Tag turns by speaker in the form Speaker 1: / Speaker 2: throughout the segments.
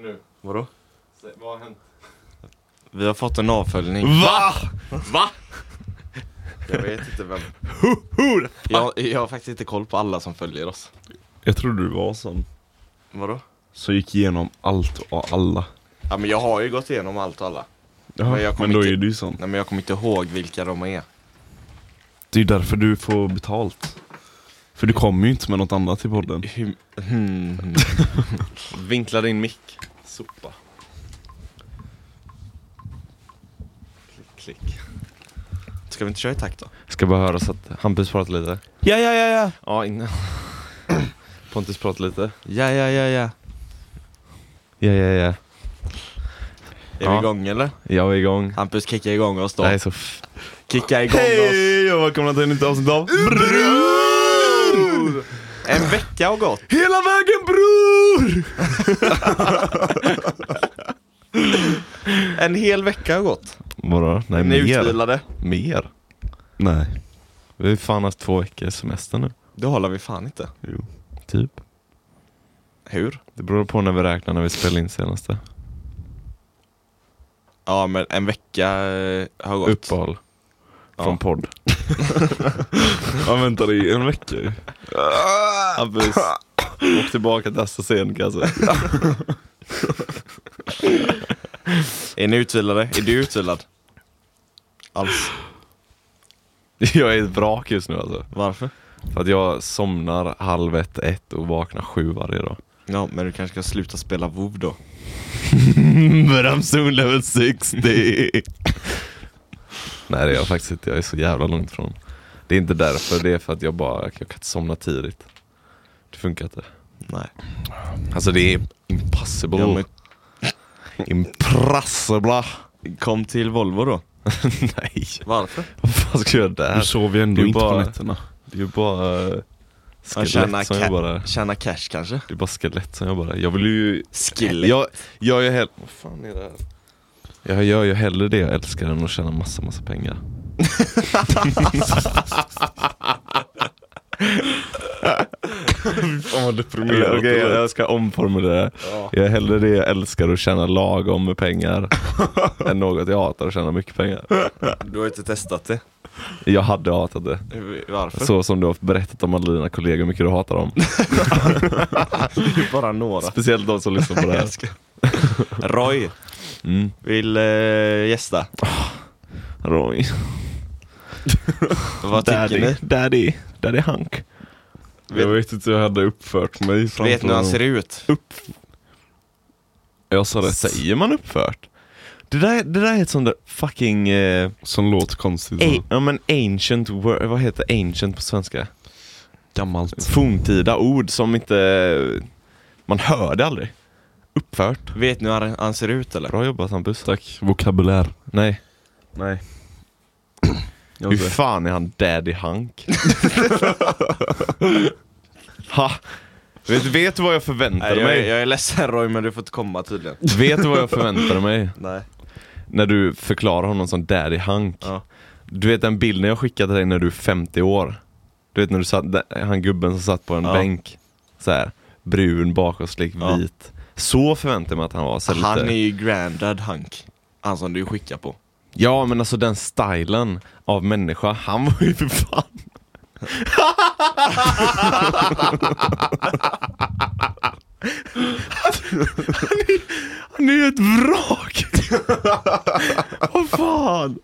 Speaker 1: nu.
Speaker 2: Vadå?
Speaker 1: Sä- Vad har hänt?
Speaker 3: Vi har fått en avföljning.
Speaker 2: Va? Va?
Speaker 3: Jag vet inte vem.
Speaker 2: Hur?
Speaker 3: Jag, jag har faktiskt inte koll på alla som följer oss.
Speaker 2: Jag trodde du var sån.
Speaker 3: Vadå?
Speaker 2: Så gick igenom allt och alla.
Speaker 3: Ja men jag har ju gått igenom allt och alla. Men jag
Speaker 2: Jaha,
Speaker 3: kom
Speaker 2: men då
Speaker 3: inte-
Speaker 2: är du ju sån.
Speaker 3: Nej men jag kommer inte ihåg vilka de är.
Speaker 2: Det är ju därför du får betalt. För du kommer ju inte med något annat i podden.
Speaker 3: Hur... Hmm.
Speaker 1: Vinkla din mick. Sopa. Klick, klick.
Speaker 3: Ska vi inte köra i takt då?
Speaker 1: Ska bara höra så att Hampus pratar lite.
Speaker 2: Ja, ja, ja, ja.
Speaker 3: Ja, innan.
Speaker 1: Pontus pratar lite.
Speaker 3: Ja, ja, ja, ja.
Speaker 1: Ja, ja, ja.
Speaker 3: Är vi
Speaker 1: Ja.
Speaker 3: igång eller?
Speaker 1: Jag är igång.
Speaker 3: Hampus, kicka igång oss då.
Speaker 1: Nej, så f-
Speaker 3: Kicka igång oss.
Speaker 2: och välkomna till ett nytt avsnitt av
Speaker 1: Mm.
Speaker 3: Bror! En vecka har gått.
Speaker 2: Hela vägen bror!
Speaker 3: En hel vecka har gått.
Speaker 1: Vadå? Nej,
Speaker 3: Ni är
Speaker 1: mer.
Speaker 3: utvilade.
Speaker 1: Mer? Nej. Vi har ju fan haft två veckors semester nu.
Speaker 3: Det håller vi fan inte.
Speaker 1: Jo. Typ.
Speaker 3: Hur?
Speaker 1: Det beror på när vi räknar när vi spelade in senaste.
Speaker 3: Ja, men en vecka eh, har gått.
Speaker 1: Uppehåll. Från podd.
Speaker 2: Ja vänta det är en vecka ju.
Speaker 1: Hampus, åk tillbaka till alltså. Assassin kanske.
Speaker 3: Är ni utvilade? Är du utvilad? Alls.
Speaker 1: Jag är ett vrak just nu alltså.
Speaker 3: Varför?
Speaker 1: För att jag somnar halv ett, ett och vaknar sju varje dag.
Speaker 3: Ja, men du kanske ska sluta spela WoW då. Mm,
Speaker 1: But I'm soon level 60! Nej det är jag faktiskt inte, jag är så jävla långt från. Det är inte därför, det är för att jag bara, jag kan inte somna tidigt. Det funkar inte.
Speaker 3: Nej.
Speaker 1: Alltså det är impossible.
Speaker 3: Ja, men
Speaker 1: Impossible!
Speaker 3: kom till Volvo då.
Speaker 1: Nej,
Speaker 3: Varför?
Speaker 1: vad fan ska jag göra där?
Speaker 2: Äh. Du sover ju ändå
Speaker 1: Det är
Speaker 2: inte
Speaker 1: bara-
Speaker 2: på nätterna.
Speaker 1: Det är ju bara eh,
Speaker 3: Ja, tjäna,
Speaker 1: skelett som jag
Speaker 3: ca-
Speaker 1: bara...
Speaker 3: tjäna cash kanske?
Speaker 1: Det är bara skelett som jag bara... Jag vill ju...
Speaker 3: Skillet.
Speaker 1: Jag, jag är hell... Vad fan är det här? Jag gör ju hellre det jag älskar än att tjäna massa, massa pengar.
Speaker 2: Fan vad
Speaker 1: Eller,
Speaker 2: deprimerande.
Speaker 1: Okej, jag, jag ska omformulera det.
Speaker 3: Ja.
Speaker 1: Jag är hellre det jag älskar och tjäna lagom med pengar än något jag hatar och tjäna mycket pengar.
Speaker 3: Du har inte testat det.
Speaker 1: Jag hade hatat det.
Speaker 3: Hur- Varför?
Speaker 1: Så som du har berättat om alla dina kollegor, hur mycket du hatar dem.
Speaker 3: Det är bara några.
Speaker 1: Speciellt de som lyssnar på det här.
Speaker 3: Roy
Speaker 1: Mm.
Speaker 3: vill eh, gästa.
Speaker 1: Roy.
Speaker 3: Vad tycker
Speaker 1: Daddy.
Speaker 3: ni?
Speaker 1: Daddy. Daddy Hank.
Speaker 2: Jag vet inte hur jag hade uppfört mig framför
Speaker 3: Vet ni hur han
Speaker 2: honom.
Speaker 3: ser ut?
Speaker 1: Jag sa det. Säger man uppfört? Det där, det där är ett sånt där fucking... Eh,
Speaker 2: Som låter konstigt.
Speaker 1: a- ja men ancient word, vad heter ancient på svenska?
Speaker 2: Gammalt.
Speaker 1: Forntida ord som inte... Man hör det aldrig. Uppfört.
Speaker 3: Vet ni hur han- han ser ut eller?
Speaker 1: Bra jobbat Hampus.
Speaker 2: Tack. Vokabulär.
Speaker 1: Nej.
Speaker 2: Nej.
Speaker 1: Hur fan är han Daddy Hank? ha! Vet, vet du vad jag
Speaker 3: Nej,
Speaker 1: förväntade
Speaker 3: jag, är,
Speaker 1: mig?
Speaker 3: jag är ledsen Roy men du får inte komma tydligen.
Speaker 1: Vet du vad jag förväntade mig?
Speaker 3: Nej.
Speaker 1: När du förklarar honom som Daddy Hank.
Speaker 3: Ja.
Speaker 1: Du vet den bilden jag skickade till dig när du är 50 år? Du vet när du satt, där- han gubben som satt på en
Speaker 3: Ja.
Speaker 1: bänk. så här, brun, bakåtslick,
Speaker 3: Ja.
Speaker 1: vit. Så förväntade jag mig att han var. Så
Speaker 3: Han
Speaker 1: lite...
Speaker 3: är ju Grandad Hank. Han som du skickar på.
Speaker 1: Ja men alltså den stylen av människa, han var ju för fan Han är ju ett vrak! Vad fan!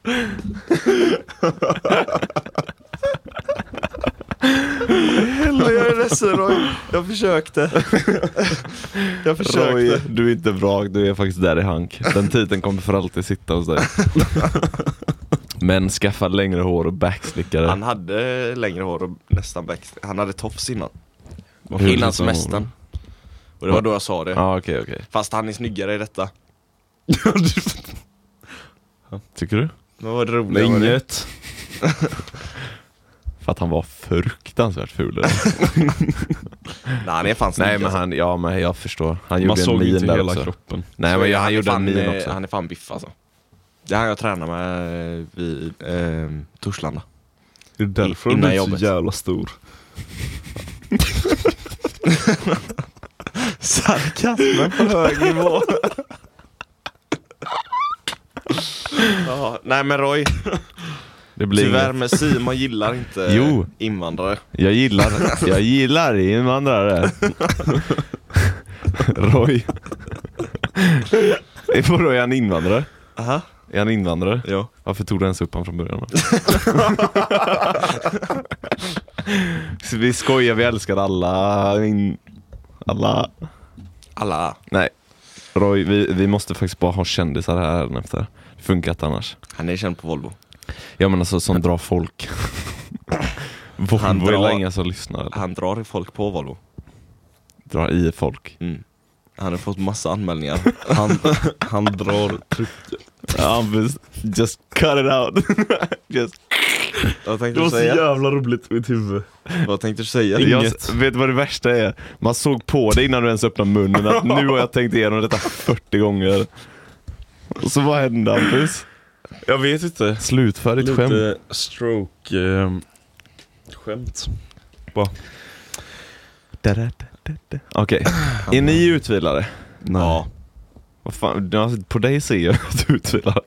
Speaker 3: Eller jag är ledsen Roy. Jag försökte. Jag
Speaker 1: Roy, du är inte vrak, du är faktiskt där i Hank. Den titeln kommer för alltid sitta hos dig. Men skaffa längre hår och
Speaker 3: Han
Speaker 1: backslickare.
Speaker 3: hade längre hår och nästan back. Han hade tofs innan.
Speaker 1: Varför
Speaker 3: innan
Speaker 1: lyssnar man?
Speaker 3: semestern. Och det var då jag sa det.
Speaker 1: Ja okej okej.
Speaker 3: Fast han är snyggare i detta.
Speaker 1: Tycker du?
Speaker 3: Men vad roligt.
Speaker 1: Nej, inget. För att han var fruktansvärt ful. eller?
Speaker 3: Nej, han är fan snygg.
Speaker 1: Nej men
Speaker 3: alltså.
Speaker 1: han, ja men jag förstår. Han
Speaker 2: Man
Speaker 1: gjorde en
Speaker 2: såg
Speaker 1: min
Speaker 2: inte
Speaker 1: där
Speaker 2: hela
Speaker 1: också.
Speaker 2: kroppen.
Speaker 1: Nej
Speaker 3: Så
Speaker 1: men
Speaker 3: är-
Speaker 1: jag, han
Speaker 3: är
Speaker 1: gjorde en
Speaker 3: fan,
Speaker 1: min
Speaker 3: eh,
Speaker 1: också.
Speaker 3: Han är fan biff alltså. Det är han jag tränar med eh, vid eh, Torslanda.
Speaker 2: Det är därför
Speaker 3: I-
Speaker 2: hon
Speaker 3: innan
Speaker 2: är så
Speaker 3: jobbet.
Speaker 2: jävla stor.
Speaker 3: Sarkasmen på hög nivå. ja, nej men Roy,
Speaker 1: Det blir
Speaker 3: tyvärr
Speaker 1: inget.
Speaker 3: men Simon gillar inte
Speaker 1: Jo.
Speaker 3: invandrare.
Speaker 1: Jag gillar, jag gillar invandrare. Roy. Vadå, är han invandrare?
Speaker 3: Aha.
Speaker 1: Är han invandrare?
Speaker 3: Jo.
Speaker 1: Varför tog du ens upp honom från början då? Så vi skojar, vi älskar alla. In, alla.
Speaker 3: Alla.
Speaker 1: Nej. Roy, vi, vi måste faktiskt bara ha kändisar här efter. Det funkar inte annars.
Speaker 3: Han är känd på Volvo.
Speaker 1: Ja men alltså som drar folk.
Speaker 3: Han
Speaker 1: Volvo är
Speaker 3: drar-
Speaker 1: väl ingen som lyssnar. eller?
Speaker 3: Han drar i folk på Volvo.
Speaker 1: Drar i folk.
Speaker 3: Mm. Han har fått massa anmälningar.
Speaker 2: Han, han drar truck.
Speaker 1: Hampus, just cut it out. just.
Speaker 3: Vad tänkte
Speaker 2: Det var
Speaker 3: du
Speaker 2: så
Speaker 3: säga?
Speaker 2: jävla roligt i mitt huvud.
Speaker 3: Vad tänkte du säga?
Speaker 1: Jag,
Speaker 2: Inget.
Speaker 1: vet du vad det värsta är? Man såg på dig innan du ens öppnade munnen att nu har jag tänkt igenom detta 40 gånger. Och så vad hände Hampus?
Speaker 2: Jag vet inte.
Speaker 1: Slutför ditt skämt.
Speaker 2: Lite stroke... ehm, skämt.
Speaker 1: Okej, är ni utvilade?
Speaker 2: Nej. Ja.
Speaker 1: Vad fan, ja, på dig ser jag att du är utvilad.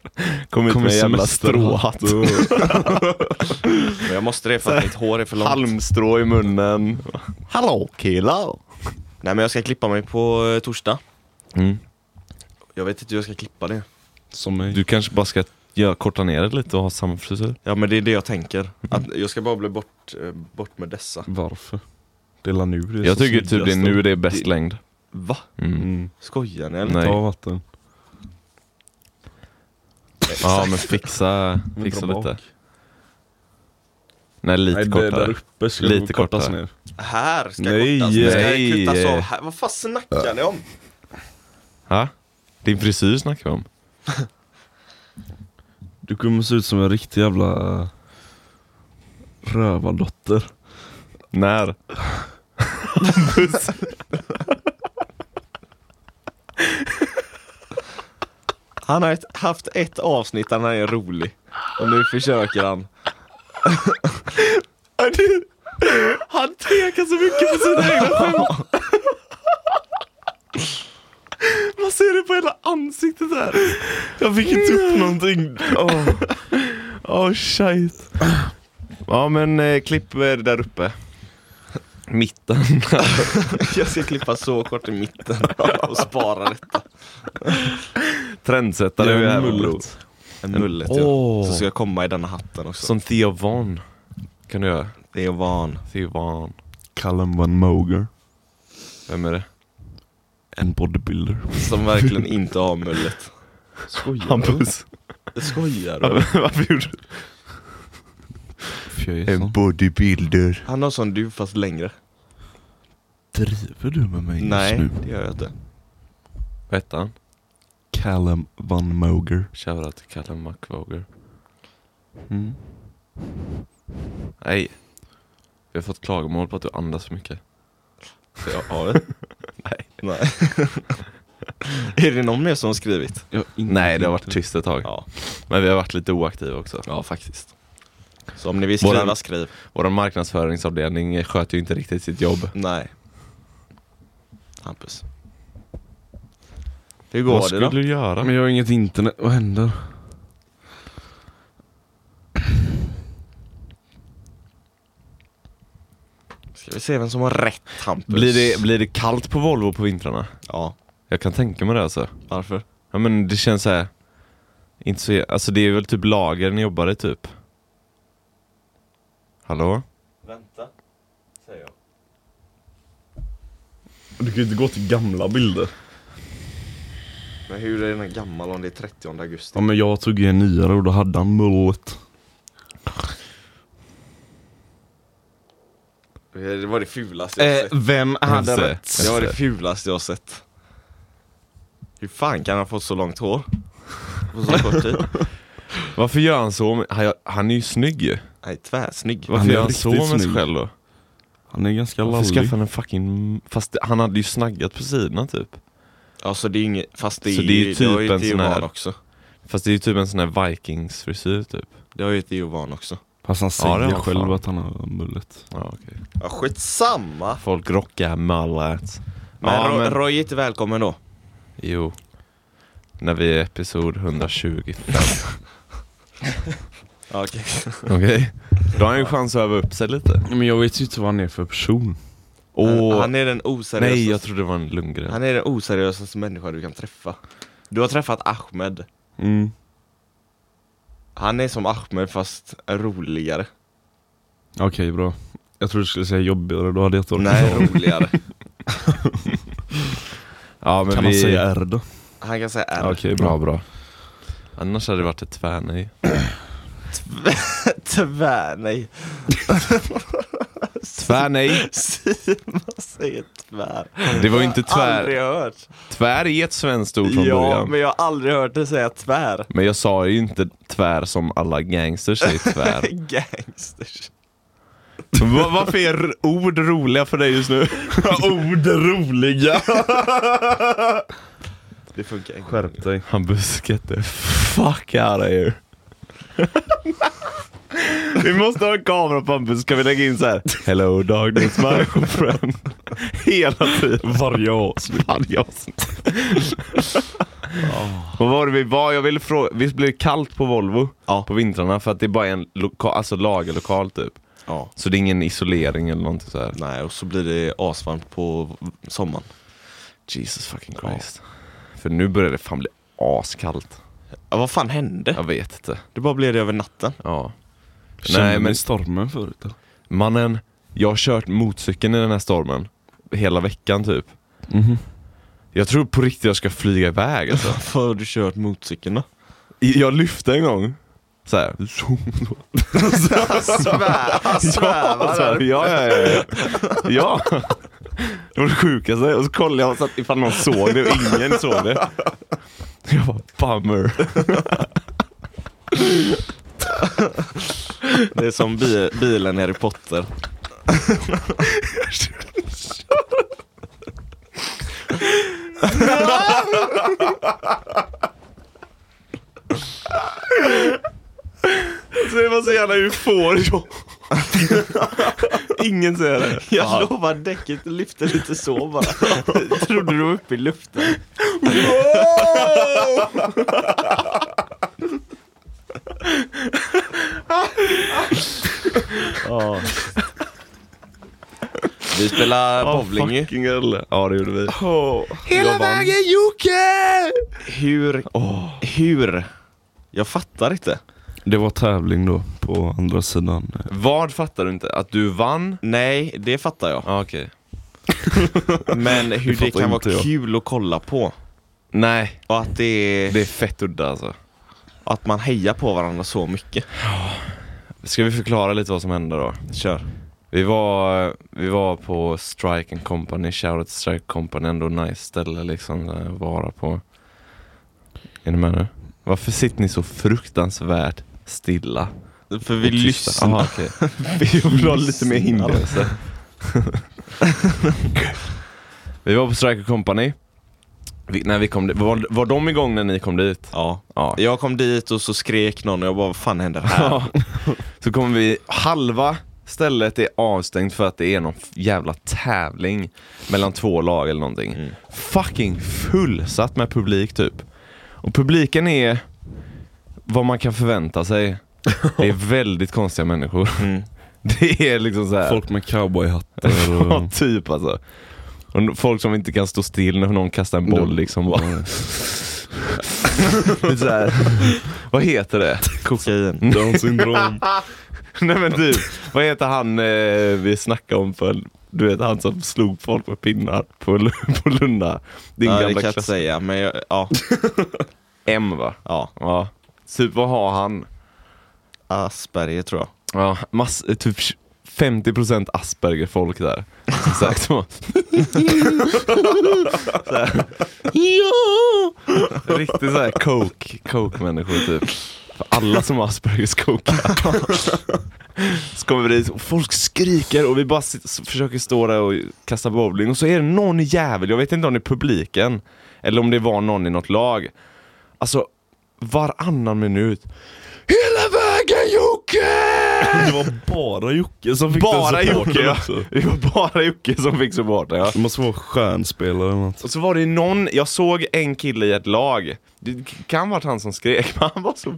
Speaker 1: Kom hit med en jävla stråhatt.
Speaker 3: Men jag måste det för att mitt hår är för långt.
Speaker 1: Halmstrå i munnen. Hallå killar!
Speaker 3: Nej men jag ska klippa mig på eh, torsdag.
Speaker 1: Mm.
Speaker 3: Jag vet inte hur jag ska klippa det.
Speaker 2: Som mig.
Speaker 1: Du kanske bara ska göra, korta ner det lite och ha samma frisyr?
Speaker 3: Ja men det är det jag tänker. Att jag ska bara bli bort, eh, bort med dessa.
Speaker 2: Varför? Det är la nu det är
Speaker 1: Jag
Speaker 2: så
Speaker 1: tycker typ det är
Speaker 2: snyggast.
Speaker 1: nu det är bäst längd.
Speaker 3: Va?
Speaker 1: Mm.
Speaker 2: Mm.
Speaker 3: Skojar ni eller?
Speaker 1: Nej.
Speaker 2: Ta vatten.
Speaker 1: Ja men fixa,
Speaker 2: Men
Speaker 1: fixa
Speaker 2: dra
Speaker 1: lite.
Speaker 2: bak.
Speaker 1: Nej lite
Speaker 2: Nej, det där
Speaker 1: kortare.
Speaker 2: uppe ska
Speaker 1: Lite
Speaker 2: lite kortas
Speaker 1: kortare.
Speaker 2: ner.
Speaker 3: Här ska
Speaker 2: Nej.
Speaker 3: kortas, det ska
Speaker 1: Nej.
Speaker 3: kluttas av här. Vad fan snackar ni om?
Speaker 1: Ha? Din frisyr snackar vi om.
Speaker 2: Du kommer se ut som en riktig jävla eh, rövardotter.
Speaker 1: När?
Speaker 3: Han har ett, haft ett avsnitt där han är rolig. Och nu försöker han.
Speaker 1: Han tvekar så mycket på sina egna skämt. Man ser det på hela ansiktet här. Jag fick inte upp någonting. Åh oh. shit. Ja men eh, klipp eh, det där uppe. Mitten.
Speaker 3: Jag ska klippa så kort i mitten och spara detta.
Speaker 1: Trendsättare
Speaker 2: Gör
Speaker 1: vi är
Speaker 2: mullet.
Speaker 1: bro.
Speaker 3: En mullet ja.
Speaker 1: Åh.
Speaker 3: Så ska jag komma i denna hatten också.
Speaker 1: Som Theo Von. Kan du göra?
Speaker 3: Det är van.
Speaker 1: Theo Von.
Speaker 2: Callum Van Moger.
Speaker 1: Vem är det?
Speaker 2: En bodybuilder.
Speaker 3: Som verkligen inte har mullet.
Speaker 2: Skojar du?
Speaker 1: Hampus.
Speaker 3: Skojar du?
Speaker 1: Varför gjorde du
Speaker 2: För jag är sån.
Speaker 1: bodybuilder.
Speaker 3: Han har som du fast längre.
Speaker 2: Driver du med mig just
Speaker 3: Nej,
Speaker 2: nu?
Speaker 3: det gör jag inte.
Speaker 1: Vad hette han?
Speaker 2: Callum Van Moger.
Speaker 1: Shoutout till Callum McVoger.
Speaker 2: Mm.
Speaker 1: Nej. Vi har fått klagomål på att du andas för mycket.
Speaker 3: Så jag har det.
Speaker 1: Nej.
Speaker 3: Nej. är det någon mer som har skrivit?
Speaker 2: Jag inte-
Speaker 1: Nej, det har varit tyst ett tag.
Speaker 3: Ja.
Speaker 1: Men vi har varit lite oaktiva också.
Speaker 3: Ja, faktiskt. Så om ni vill skriva,
Speaker 1: Våran-
Speaker 3: skriv.
Speaker 1: Vår marknadsföringsavdelning sköter ju inte riktigt sitt jobb.
Speaker 3: Nej. Hampus. Hur går
Speaker 1: Vad
Speaker 3: det
Speaker 1: skulle
Speaker 3: då?
Speaker 1: du göra?
Speaker 2: Men jag har inget internet. Vad händer?
Speaker 3: Ska vi se vem som har rätt Hampus?
Speaker 1: Blir det, blir det kallt på Volvo på vintrarna?
Speaker 3: Ja,
Speaker 1: Jag kan tänka mig det alltså.
Speaker 3: varför?
Speaker 1: Ja men det känns så här. Inte så, alltså det är väl typ lager ni jobbar i typ? Hallå?
Speaker 3: Vänta, säger jag.
Speaker 2: Du kan ju inte gå till gamla bilder.
Speaker 3: Men hur är den gammal om det är 30 augusti?
Speaker 2: Ja men jag tog ju en nyare och då hade han mullet.
Speaker 3: Det var det fulaste jag har sett.
Speaker 2: vem
Speaker 1: Eh, hade rätt?
Speaker 3: Det var det fulaste jag har sett. Hur fan kan han ha fått så långt hår? På så kort tid?
Speaker 1: Varför gör han så? med- Han, han är ju snygg ju.
Speaker 3: Nej, tvärsnygg.
Speaker 1: Varför
Speaker 2: Han är
Speaker 1: gör han så
Speaker 2: riktigt
Speaker 1: med sig
Speaker 2: snygg.
Speaker 1: själv då?
Speaker 2: Han är ganska
Speaker 1: Varför skaffade
Speaker 2: lallig.
Speaker 1: han en fucking... Fast det- han hade ju snaggat på sidorna typ.
Speaker 3: Alltså det är inget, fast det är,
Speaker 1: Så det är ju
Speaker 3: det har
Speaker 1: typ
Speaker 3: ju
Speaker 1: en
Speaker 3: Theo
Speaker 1: sån här-
Speaker 3: Van också.
Speaker 1: Fast det är ju typ en sån här Vikings-frisyr typ.
Speaker 3: Det har ju Theo Van också.
Speaker 2: Fast han
Speaker 1: Ja, det
Speaker 2: säger
Speaker 1: har han
Speaker 2: själv
Speaker 1: fan.
Speaker 2: att han har mullet.
Speaker 1: Ja, okej.
Speaker 3: Ja skitsamma!
Speaker 1: Folk rockar mullet.
Speaker 3: Men,
Speaker 2: Ja,
Speaker 3: Ro-
Speaker 2: men-
Speaker 3: Roy är inte välkommen då.
Speaker 1: Jo. När vi är episod 125.
Speaker 3: Ja, okej.
Speaker 1: Okej? Då har han ju chans att öva upp sig lite.
Speaker 2: Men jag vet ju inte vad han är för person.
Speaker 1: Åh,
Speaker 3: Han är den oseriösa
Speaker 1: nej jag trodde det var en Lundgren.
Speaker 3: Han är den oseriösaste människa du kan träffa. Du har träffat Ahmed.
Speaker 2: Mm.
Speaker 3: Han är som Ahmed fast roligare.
Speaker 2: Okej, bra. Jag trodde du skulle säga jobbigare, då hade jag inte orkat.
Speaker 3: Nej, roligare.
Speaker 1: Ja, men
Speaker 2: Kan man
Speaker 1: vi...
Speaker 2: säga R då?
Speaker 3: Han kan säga R.
Speaker 2: Ja, Okej, bra.
Speaker 1: bra. Annars hade det varit ett tvärnej.
Speaker 3: Tyvärr, nej.
Speaker 1: Tvärnej!
Speaker 3: Simon säger tvär.
Speaker 1: Det var ju inte
Speaker 3: Jag har
Speaker 1: tvär.
Speaker 3: aldrig hört.
Speaker 1: Tvär är ett svenskt ord från
Speaker 3: Ja,
Speaker 1: början.
Speaker 3: men jag har aldrig hört dig säga tvär.
Speaker 1: Men jag sa ju inte tvär som alla gangsters säger tvär.
Speaker 3: Gangsters.
Speaker 1: Va- Varför är r- ord roliga för dig just nu?
Speaker 2: Ord är roliga!
Speaker 3: Det funkar inte.
Speaker 2: Skärp dig.
Speaker 1: Hampus, get the fuck out of here. vi måste ha en kamera på Hampus, ska vi lägga in så här. Hello darkness my friend. Hela tiden.
Speaker 2: Varje avsnitt.
Speaker 1: Varje avsnitt.
Speaker 2: Ah.
Speaker 1: Vad var det vi var? Jag ville fråga, visst blir det kallt på Volvo?
Speaker 3: Ja.
Speaker 1: På vintrarna? För att det är bara en loka, alltså lagerlokal typ.
Speaker 3: Ja.
Speaker 1: Så det är ingen isolering eller någonting så här.
Speaker 3: Nej, och så blir det asvarmt på sommaren.
Speaker 1: Jesus fucking Christ. För nu börjar det fan bli askallt.
Speaker 3: Ja, vad fan hände?
Speaker 1: Jag vet inte.
Speaker 3: Det bara blev det över natten.
Speaker 1: Ja.
Speaker 2: Kände
Speaker 1: men-
Speaker 2: ni stormen förut eller?
Speaker 1: Mannen, jag har kört motorcykeln i den här stormen. Hela veckan typ. Jag tror på riktigt jag ska flyga iväg alltså.
Speaker 3: Varför har du kört motorcykeln då?
Speaker 1: I- Jag lyfte en gång. Så här.
Speaker 3: Svär,
Speaker 1: Ja, så här, ja, ja, ja, ja. ja. Det var det sjukaste. Och så kollade jag så att ifall någon såg det och ingen såg det. Jag bara, bummer.
Speaker 3: Det är som bi- bilen i Harry Potter.
Speaker 1: Så det var så jävla euforiskt. Ingen ser det.
Speaker 3: Jag lovar, däcket lyfte lite så bara. Jag trodde du var uppe i luften. Ja. Ah. Vi spelar bowling ju.
Speaker 1: Fucking hell. Ja, det gjorde vi.
Speaker 3: Hela vägen Jocke! Hur,
Speaker 1: Åh.
Speaker 3: hur? Jag fattar inte.
Speaker 2: Det var tävling då, på andra sidan.
Speaker 1: Vad fattar du inte? Att du vann?
Speaker 3: Nej, det fattar jag.
Speaker 1: Ah, Okej.
Speaker 3: Men hur det,
Speaker 2: fattar
Speaker 3: kan vara
Speaker 2: inte jag.
Speaker 3: kul att kolla på.
Speaker 1: Nej,
Speaker 3: Och att, det är,
Speaker 1: det är fett udda alltså.
Speaker 3: att man hejar på varandra så mycket.
Speaker 1: Ska vi förklara lite vad som hände då?
Speaker 3: Kör.
Speaker 1: Vi var, vi var på Strike and Company, shoutout till Strike Company, ändå nice ställe liksom där att vara på. Är ni med nu? Varför sitter ni så fruktansvärt stilla?
Speaker 3: För vi
Speaker 1: Och tysta?
Speaker 3: lyssnar.
Speaker 1: Aha, okej. Jag vill ha lite mer inlevelse. vi var på Strike and Company. Vi, när vi kom dit, var, var de igång när ni kom dit?
Speaker 3: Ja.
Speaker 1: Ja.
Speaker 3: Jag kom dit och så skrek någon och jag bara vad fan händer här?
Speaker 1: Ja. Äh, Så kommer vi, halva stället är avstängt för att det är någon jävla tävling mellan två lag eller någonting.
Speaker 3: Mm.
Speaker 1: Fucking fullsatt med publik typ. Och publiken är vad man kan förvänta sig. Det är väldigt konstiga människor.
Speaker 3: Mm.
Speaker 1: Det är liksom så här.
Speaker 2: Folk med cowboyhattar
Speaker 1: Ja,
Speaker 2: och...
Speaker 1: typ alltså. Och n- folk som inte kan stå still när någon kastar en boll
Speaker 2: De-
Speaker 1: liksom. Bara. Lite så här. Vad heter det?
Speaker 3: Kokain.
Speaker 2: Down syndrom.
Speaker 1: Nej men typ, vad heter han eh, vi snackade om för, du vet han som slog folk med pinnar på, Lu- på Lunda? Din
Speaker 3: Ja, det
Speaker 1: gamla
Speaker 3: kan jag inte
Speaker 1: klass.
Speaker 3: säga men jag, ja.
Speaker 1: M va?
Speaker 3: ja.
Speaker 1: Ja. Typ vad har han?
Speaker 3: Asperger tror jag.
Speaker 1: Ja, mass, eh, typ 50% Asperger folk där. Som sagt så. Så här. Ja! Riktigt såhär coke, coke människor typ. För alla som har Aspergers coke. Så kommer vi dit och folk skriker och vi bara sit- s- försöker stå där och kasta bowling och så är det någon jävel, jag vet inte om det är publiken eller om det var någon i något lag. Alltså varannan minut Hela Äntligen Jocke!
Speaker 2: Det var bara Jocke som fick
Speaker 1: Bara
Speaker 2: den supporten
Speaker 1: Jocke ja.
Speaker 2: också.
Speaker 1: Det var bara Jocke som fick supporten ja.
Speaker 2: Det måste vara stjärnspelare eller något.
Speaker 1: Och så var det någon, jag såg en kille i ett lag, det kan varit han som skrek, men han var så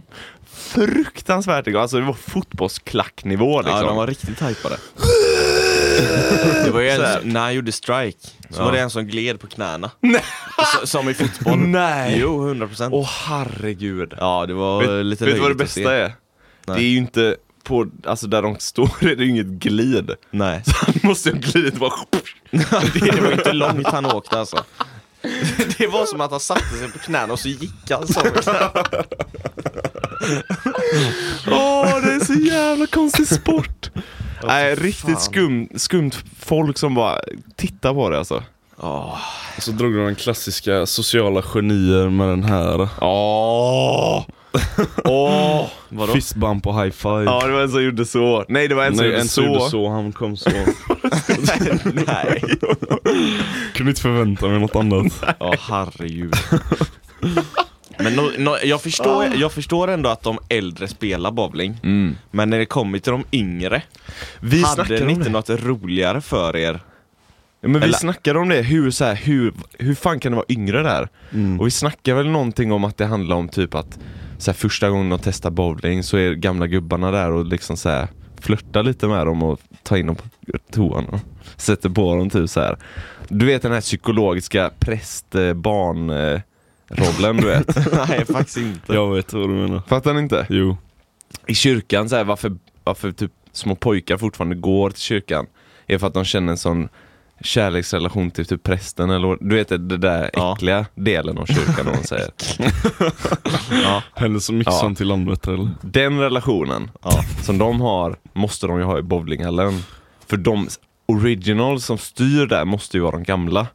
Speaker 1: fruktansvärt igång. Alltså det var fotbollsklacknivå liksom.
Speaker 3: Ja, de var riktigt hypade. Det var ju en, som- när han gjorde strike, så var det en som gled på knäna. Så, som i fotboll.
Speaker 1: Nej!
Speaker 3: Jo, 100 procent.
Speaker 1: Åh herregud.
Speaker 3: Ja, det var eh, lite
Speaker 1: vet du vad det
Speaker 3: löjligt att
Speaker 1: bästa
Speaker 3: se.
Speaker 1: är?
Speaker 3: Nej.
Speaker 1: Det är ju inte på, alltså där de står är det ju inget glid.
Speaker 3: Nej.
Speaker 1: Så han måste ju ha glidit bara...
Speaker 3: Det var inte långt han åkte alltså. Det var som att han satte sig på knäna och så gick han så.
Speaker 1: Åh, det är så jävla konstig sport! Nej,
Speaker 3: fan.
Speaker 1: riktigt skum, skumt folk som bara tittar på det alltså.
Speaker 2: Och så drog de den klassiska sociala genier med den här.
Speaker 1: Åh! Åh!
Speaker 3: Vadå?
Speaker 2: Fistbump och high five.
Speaker 1: Ja, det var en som gjorde så. Nej, det var en som
Speaker 2: Nej,
Speaker 1: gjorde
Speaker 2: en
Speaker 1: så.
Speaker 2: som gjorde så, han kom så.
Speaker 3: Nej.
Speaker 2: Kunde inte förvänta mig något annat.
Speaker 3: Ja, herregud. Men no, no, jag, förstår, jag förstår ändå att de äldre spelar bowling. Men när det kommer till de yngre,
Speaker 1: Vi
Speaker 3: hade
Speaker 1: snackade
Speaker 3: ni
Speaker 1: om
Speaker 3: inte
Speaker 1: det.
Speaker 3: något roligare för er?
Speaker 1: Ja, men vi
Speaker 3: Eller-
Speaker 1: snackade om det, hur, så här, hur, hur fan kan det vara yngre där? Och vi snackade väl någonting om att det handlar om typ att så här, första gången de testar bowling så är gamla gubbarna där och liksom så här, flörtar lite med dem och tar in dem på toan och sätter på dem typ så här. Du vet den här psykologiska präst-barn-rollen du vet?
Speaker 3: Nej, faktiskt inte.
Speaker 2: Jag vet vad du menar.
Speaker 1: Fattar ni inte?
Speaker 2: Jo.
Speaker 1: i kyrkan, så här, varför, varför typ små pojkar fortfarande går till kyrkan är för att de känner en sån kärleksrelation till typ prästen eller du vet det där
Speaker 3: Ja.
Speaker 1: äckliga delen av kyrkan om man säger.
Speaker 2: Häller så mycket
Speaker 1: Ja.
Speaker 2: sånt till Landvetter eller?
Speaker 1: Den relationen
Speaker 3: Ja.
Speaker 1: som de har måste de ju ha i bowlinghallen. För de original som styr där måste ju vara de gamla.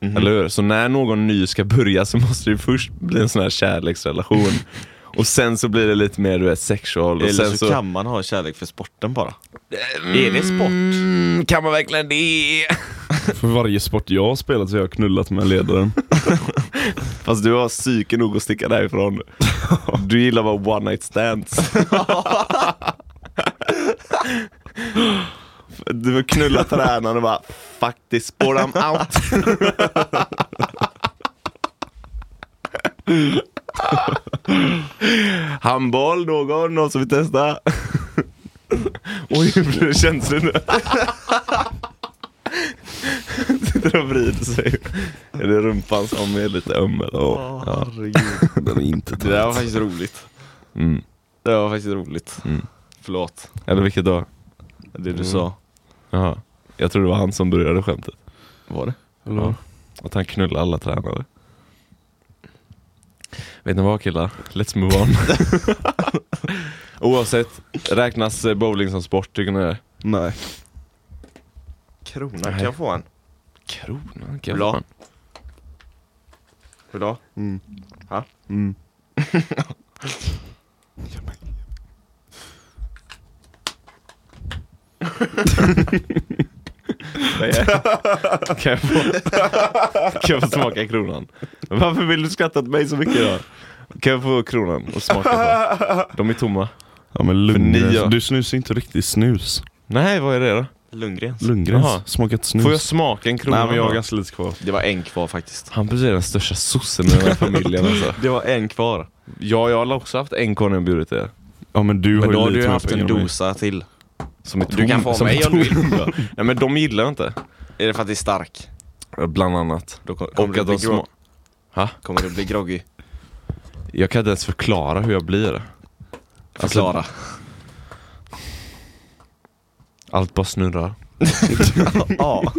Speaker 3: Mhm.
Speaker 1: Eller hur? Så när någon ny ska börja så måste det ju först bli en sån här kärleksrelation. Och sen så blir det lite mer du vet sexual och
Speaker 3: Eller
Speaker 1: sen
Speaker 3: så,
Speaker 1: så...
Speaker 3: kan man ha kärlek för sporten bara. Är det sport?
Speaker 1: Mm, kan man verkligen det?
Speaker 2: För varje sport jag har spelat så har jag knullat med ledaren.
Speaker 1: Fast du har psyke nog att sticka därifrån. Du gillar bara one night stands. Du vill knulla tränaren och bara Fuck this sport, I'm out. Handboll, någon? Någon som vill testa? Oj, hur blir det känsligt nu? Sitter och vrider sig. Är det rumpan som är lite öm eller? Ja.
Speaker 3: herregud.
Speaker 2: Den är inte
Speaker 3: Det där var faktiskt roligt.
Speaker 1: Mm.
Speaker 3: Det var faktiskt roligt.
Speaker 1: Mm.
Speaker 3: Förlåt,
Speaker 1: Eller vilket då?
Speaker 3: det du
Speaker 2: Mm.
Speaker 3: sa.
Speaker 1: Jaha. Jag tror det var han som började skämtet.
Speaker 3: Var det?
Speaker 2: Eller?
Speaker 1: Att han knullar alla tränare. Vet ni vad killar? Let's move on. Oavsett, räknas eh, bowling som sport tycker ni det?
Speaker 2: Nej.
Speaker 3: Krona
Speaker 1: Nej.
Speaker 3: kan jag få en.
Speaker 1: Kronan kan
Speaker 3: Bra.
Speaker 1: jag fan.
Speaker 3: Hur då?
Speaker 2: Mm.
Speaker 3: Ha?
Speaker 2: Mm.
Speaker 1: Kan jag få, kan jag få smaka kronan? Varför vill du skratta åt mig så mycket då? Kan jag få kronan och smaka på? De är tomma.
Speaker 2: Ja men Lundgren.
Speaker 1: För nya.
Speaker 2: Du snusar inte riktigt snus.
Speaker 1: Nej, vad är det då?
Speaker 3: Lundgrens.
Speaker 2: Lundgrens.
Speaker 1: Jaha.
Speaker 2: Smakat snus.
Speaker 1: Får Mm. jag smaka en krona?
Speaker 2: Nej men jag har
Speaker 1: då?
Speaker 2: ganska lite kvar.
Speaker 3: Det var en kvar faktiskt.
Speaker 1: Hampus är den största sossen i den här familjen alltså.
Speaker 3: Det var en kvar.
Speaker 1: Ja, jag har också haft en korv när jag bjudit er.
Speaker 2: Ja men du
Speaker 3: Men då
Speaker 2: har
Speaker 3: har
Speaker 2: ju
Speaker 3: du
Speaker 2: lite
Speaker 3: ju
Speaker 2: mer
Speaker 3: haft en
Speaker 2: pengar än mig.
Speaker 3: dosa till.
Speaker 1: Som är tom,
Speaker 3: Du kan få
Speaker 1: som är
Speaker 3: mig om du
Speaker 1: tom. Nej men de gillar jag inte.
Speaker 3: Är det för att det är stark?
Speaker 1: Bland annat.
Speaker 3: Då kom- kommer,
Speaker 1: Och
Speaker 3: du
Speaker 1: att
Speaker 3: bli
Speaker 1: de
Speaker 3: grog-
Speaker 1: små...
Speaker 3: kommer du bli groggy.
Speaker 1: Jag kan inte ens förklara hur jag blir.
Speaker 3: Förklara.
Speaker 1: Allt bara snurrar.
Speaker 3: ja.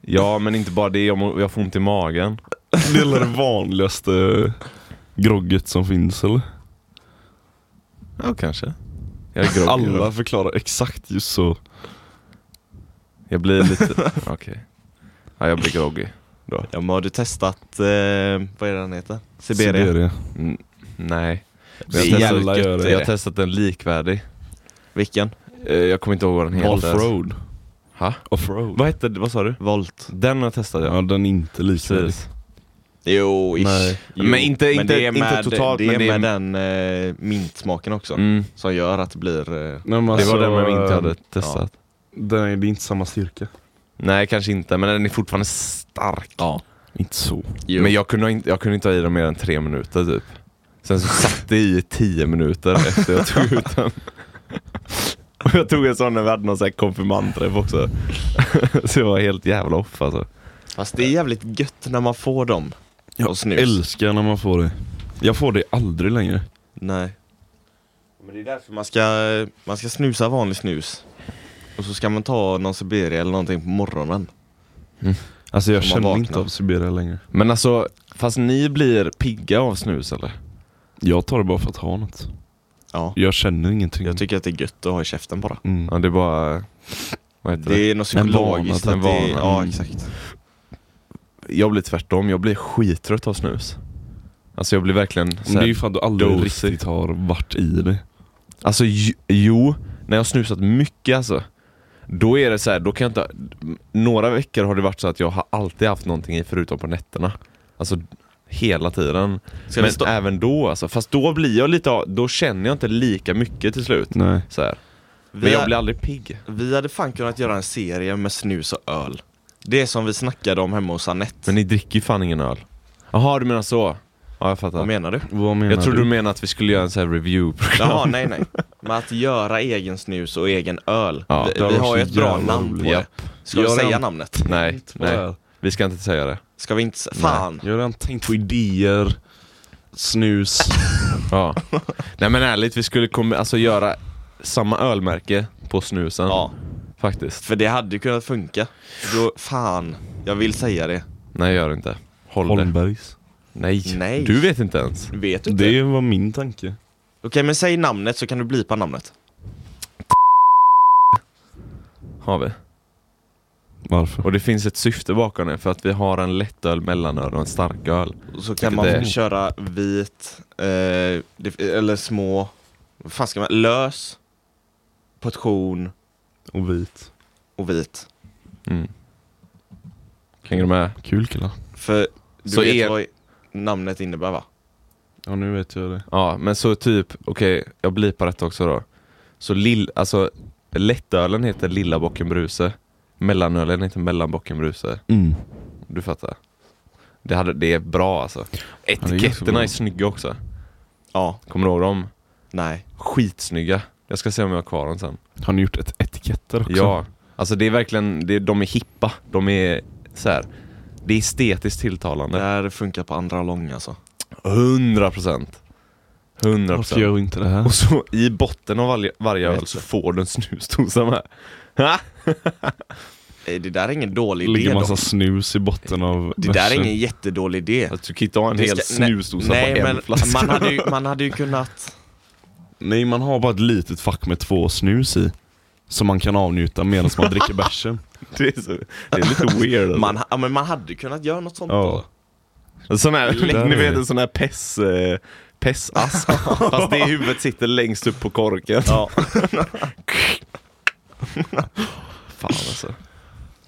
Speaker 1: Ja men inte bara det, jag, må, jag får ont i magen.
Speaker 2: Det är väl det vanligaste grogget som finns eller?
Speaker 1: Ja kanske. Jag är groggy.
Speaker 2: Alla förklarar exakt just så.
Speaker 1: Jag blir lite... Okej. Ja jag blir groggy. Då.
Speaker 3: ja men har du testat, eh, vad är det den heter? Siberia.
Speaker 1: Mm, nej.
Speaker 3: Det
Speaker 1: Men
Speaker 3: är
Speaker 1: jag, har
Speaker 3: jävla gött,
Speaker 1: testat,
Speaker 3: det är
Speaker 1: jag har
Speaker 3: det.
Speaker 1: testat en likvärdig.
Speaker 3: Vilken?
Speaker 1: Eh, Jag kommer inte ihåg vad den heter. Alltså.
Speaker 2: Offroad.
Speaker 1: Ha?
Speaker 2: Offroad.
Speaker 1: Vad hette, vad sa du?
Speaker 3: Volt.
Speaker 1: Den har jag testat ja.
Speaker 2: Ja den är inte likvärdig.
Speaker 1: Precis.
Speaker 3: Jo, ish.
Speaker 2: Nej.
Speaker 3: Jo.
Speaker 1: Men inte- inte-
Speaker 3: det är
Speaker 1: inte
Speaker 3: med,
Speaker 1: totalt,
Speaker 3: Det är
Speaker 1: men det är-
Speaker 3: med den eh, mintsmaken också,
Speaker 1: Mm.
Speaker 3: som gör att det blir... Eh,
Speaker 2: Men alltså,
Speaker 1: Det var den man inte hade testat.
Speaker 2: Den är, det är inte samma styrka.
Speaker 1: Nej, kanske inte, men den är fortfarande stark.
Speaker 3: ja.
Speaker 2: Inte så.
Speaker 3: Jo.
Speaker 1: Men jag kunde, ha inte, jag kunde inte ha i den mer än tre minuter typ. Sen så satt det i tio minuter efter jag tog ut den. Och jag tog en sån när vi hade någon sån här konfirmandträff också. så jag var helt jävla off alltså.
Speaker 3: Fast det är jävligt gött när man får dem. Och snus.
Speaker 2: älskar när man får det. Jag får det aldrig längre.
Speaker 3: Nej. Men det är därför man ska, man ska snusa vanlig snus. Och så ska man ta någon Siberia eller någonting på morgonen.
Speaker 2: Alltså jag
Speaker 3: Som man
Speaker 2: känner
Speaker 3: vaknar.
Speaker 2: inte av Siberia längre.
Speaker 1: Men alltså, fast ni blir pigga av snus eller?
Speaker 2: Jag tar det bara för att ha något.
Speaker 3: Ja.
Speaker 2: Jag känner ingenting.
Speaker 3: Jag tycker att det är gött att ha i käften bara.
Speaker 2: mm.
Speaker 1: Ja, det är bara... Vad heter det?
Speaker 3: Det är något
Speaker 1: En vana,
Speaker 3: psykologiskt.
Speaker 1: en
Speaker 3: att det,
Speaker 1: vana.
Speaker 3: ja,
Speaker 1: Mm.
Speaker 3: exakt.
Speaker 1: Jag blir tvärtom, jag blir skittrött av snus. Alltså jag blir verkligen
Speaker 2: Men
Speaker 1: så
Speaker 2: det är ju
Speaker 1: här,
Speaker 2: för att du aldrig
Speaker 1: dosig.
Speaker 2: riktigt har varit i det.
Speaker 1: Alltså ju- jo, när jag har snusat mycket alltså. Då är det så här, då kan jag inte... Några veckor har det varit så att jag har alltid haft någonting i förutom på nätterna. Alltså hela tiden.
Speaker 3: Ska vi
Speaker 1: Men
Speaker 3: stå-
Speaker 1: även då alltså. Fast då blir jag lite av, då känner jag inte lika mycket till slut.
Speaker 2: Nej.
Speaker 1: Så här. Men
Speaker 3: Vi
Speaker 1: jag
Speaker 3: har-
Speaker 1: blir aldrig pigg.
Speaker 3: Vi hade fan kunnat göra en serie med snus och öl. Det som vi snackade om hemma hos Anette.
Speaker 1: Men ni dricker ju fan ingen öl. Jaha, du menar så? Ja, jag fattar.
Speaker 3: Vad menar du?
Speaker 2: Vad menar
Speaker 1: jag tror du
Speaker 2: du
Speaker 1: menar att vi skulle göra en sån här review-program.
Speaker 3: Jaha, nej nej. Men att göra egen snus och egen öl.
Speaker 1: Ja,
Speaker 3: vi
Speaker 1: det
Speaker 3: vi
Speaker 2: var
Speaker 3: har ju
Speaker 2: så
Speaker 3: ett bra
Speaker 2: jävla
Speaker 3: namn på
Speaker 1: roligt. Japp.
Speaker 3: det. Ska vi
Speaker 2: Gör
Speaker 3: säga
Speaker 2: en-
Speaker 3: namnet?
Speaker 1: Nej, nej.
Speaker 2: Nej.
Speaker 1: Vi ska inte säga det.
Speaker 3: Ska vi inte... s- Fan!
Speaker 2: Jag har redan tänkt på idéer, snus.
Speaker 1: Ja. Nej men ärligt, vi skulle komma, alltså göra samma ölmärke på snusen.
Speaker 3: Ja,
Speaker 1: Faktiskt.
Speaker 3: för det hade ju kunnat funka. Då, fan, jag vill säga det.
Speaker 1: Nej gör det inte. Håll det.
Speaker 2: Holmbergs.
Speaker 1: Nej.
Speaker 3: Nej.
Speaker 1: Du vet inte ens.
Speaker 3: Vet du inte?
Speaker 2: Det var min tanke.
Speaker 3: Okej, men säg namnet så kan du blipa namnet.
Speaker 1: Har vi.
Speaker 2: Varför?
Speaker 1: Och det finns ett syfte bakom det, för att vi har en lättöl, mellanöl och en starköl.
Speaker 3: Och så kan man
Speaker 1: Vilket är-
Speaker 3: köra vit, eh, det, eller små, vad fan ska man, lös, portion
Speaker 2: Och vit.
Speaker 3: och vit.
Speaker 1: Mm. Hänger du med?
Speaker 2: Kul killar.
Speaker 3: För du
Speaker 1: Så
Speaker 3: vet
Speaker 1: er-
Speaker 3: vad namnet innebär va?
Speaker 2: Ja nu vet jag det.
Speaker 1: Ja, men så typ, okej, jag blipar rätt också då. Så lill, alltså lättölen heter Lilla Bocken Bruse. Mellanölen heter Mellanbocken Bruse.
Speaker 2: Mm.
Speaker 1: Du fattar. Det, hade, det är bra alltså.
Speaker 2: är ganska
Speaker 1: Etiketterna
Speaker 2: bra.
Speaker 1: är snygga också.
Speaker 3: Ja,
Speaker 1: Kommer du ihåg dem?
Speaker 3: nej.
Speaker 1: Skitsnygga. Jag ska se om jag har kvar dem sen.
Speaker 2: Har ni gjort ett etiketter också?
Speaker 1: Ja. Alltså det är verkligen, det, de är hippa. De är så här. Det är estetiskt
Speaker 3: Det
Speaker 1: tilltalande.
Speaker 3: här funkar på andra lång alltså.
Speaker 1: 100 procent. 100
Speaker 2: Varför
Speaker 1: procent.
Speaker 2: gör vi inte det här?
Speaker 1: Och så i botten av varje, varje öl
Speaker 3: Vet
Speaker 1: så får du en snusdosa med. Ha?
Speaker 3: Eh, Det där är ingen dålig
Speaker 2: Det ligger
Speaker 3: idé
Speaker 2: massa
Speaker 3: dock.
Speaker 2: snus i botten av
Speaker 3: Det där är
Speaker 2: versen.
Speaker 3: ingen jättedålig idé.
Speaker 1: Att Alltså, du kan inte ha en
Speaker 3: Det
Speaker 1: hel
Speaker 3: ska- nej-
Speaker 1: snusdosa
Speaker 3: nej,
Speaker 1: på en
Speaker 3: men
Speaker 1: flaska.
Speaker 3: Man hade, ju, man hade ju kunnat...
Speaker 2: Nej man har bara ett litet fack med två snus i. Som man kan avnjuta medan man dricker bärsen.
Speaker 1: Det, är så, det är lite weird. Alltså.
Speaker 3: Man, ha- ja, men man hade ju kunnat göra något sånt
Speaker 2: Ja.
Speaker 3: då.
Speaker 1: Sån här,
Speaker 2: Lätt.
Speaker 1: ni vet en sån här pess, eh, pessask. Fast det huvudet sitter längst upp på korken.
Speaker 3: Ja.
Speaker 1: Fan alltså.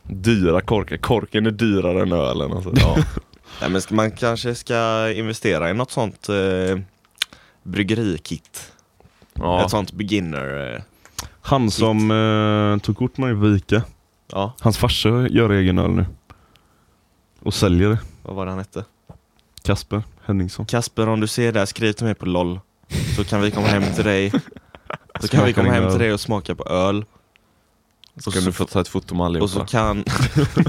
Speaker 1: Dyra korkar. Korken är dyrare än ölen alltså. Ja.
Speaker 3: Nej, men ska- man kanske ska investera i något sånt eh, bryggerikit. Ett sånt beginner... Eh,
Speaker 2: Han som eh, tog kort med mig Vika.
Speaker 3: ja,
Speaker 2: Hans farsa gör egen öl nu. Och säljer det.
Speaker 3: vad var det han hette?
Speaker 2: Kasper Henningsson.
Speaker 3: Kasper, om du ser det här, skriv till mig på LOL. Så kan vi komma hem till dig. Så kan
Speaker 2: Smaka
Speaker 3: vi komma
Speaker 2: din
Speaker 3: hem
Speaker 2: öl.
Speaker 3: till dig och smaka på öl.
Speaker 1: Så kan du få ta ett foto med allihopa.
Speaker 3: Och så kan,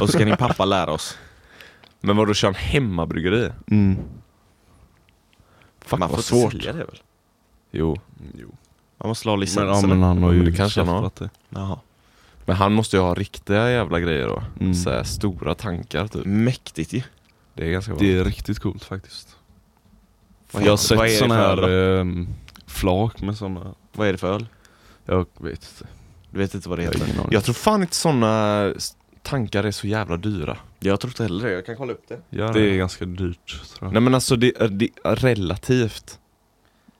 Speaker 3: och så kan din pappa lära oss.
Speaker 1: Men vadå, kör han hemmabryggeri?
Speaker 2: Mm.
Speaker 1: Fuck
Speaker 3: Man får
Speaker 1: vad
Speaker 3: inte
Speaker 1: svårt.
Speaker 3: sälja det väl?
Speaker 1: Jo.
Speaker 3: Man måste ha
Speaker 2: Men, ja,
Speaker 3: licensen.
Speaker 2: men han har
Speaker 1: Ja, men
Speaker 2: ju
Speaker 1: det kanske han har.
Speaker 2: käftat det.
Speaker 3: Jaha.
Speaker 1: Men han måste ju ha riktiga jävla grejer då.
Speaker 2: Mm.
Speaker 1: Så här, stora tankar typ.
Speaker 3: Mäktigt ju.
Speaker 1: Det är ganska bra.
Speaker 2: Det är riktigt coolt faktiskt.
Speaker 3: Vad
Speaker 2: jag har
Speaker 3: heter- vad är
Speaker 2: sett
Speaker 3: det
Speaker 2: sådana
Speaker 3: för öl
Speaker 2: här
Speaker 3: då?
Speaker 2: ehm, flak med sådana.
Speaker 3: Vad är det för öl?
Speaker 2: Jag vet inte.
Speaker 3: Du vet inte vad det
Speaker 2: Jag
Speaker 3: heter?
Speaker 2: har ingen aning.
Speaker 1: Jag tror fan inte såna tankar är så jävla dyra.
Speaker 3: Jag tror inte heller det, jag kan kolla upp det.
Speaker 1: Gör
Speaker 2: Det är ganska dyrt tror jag.
Speaker 1: Nej men alltså det är, det är relativt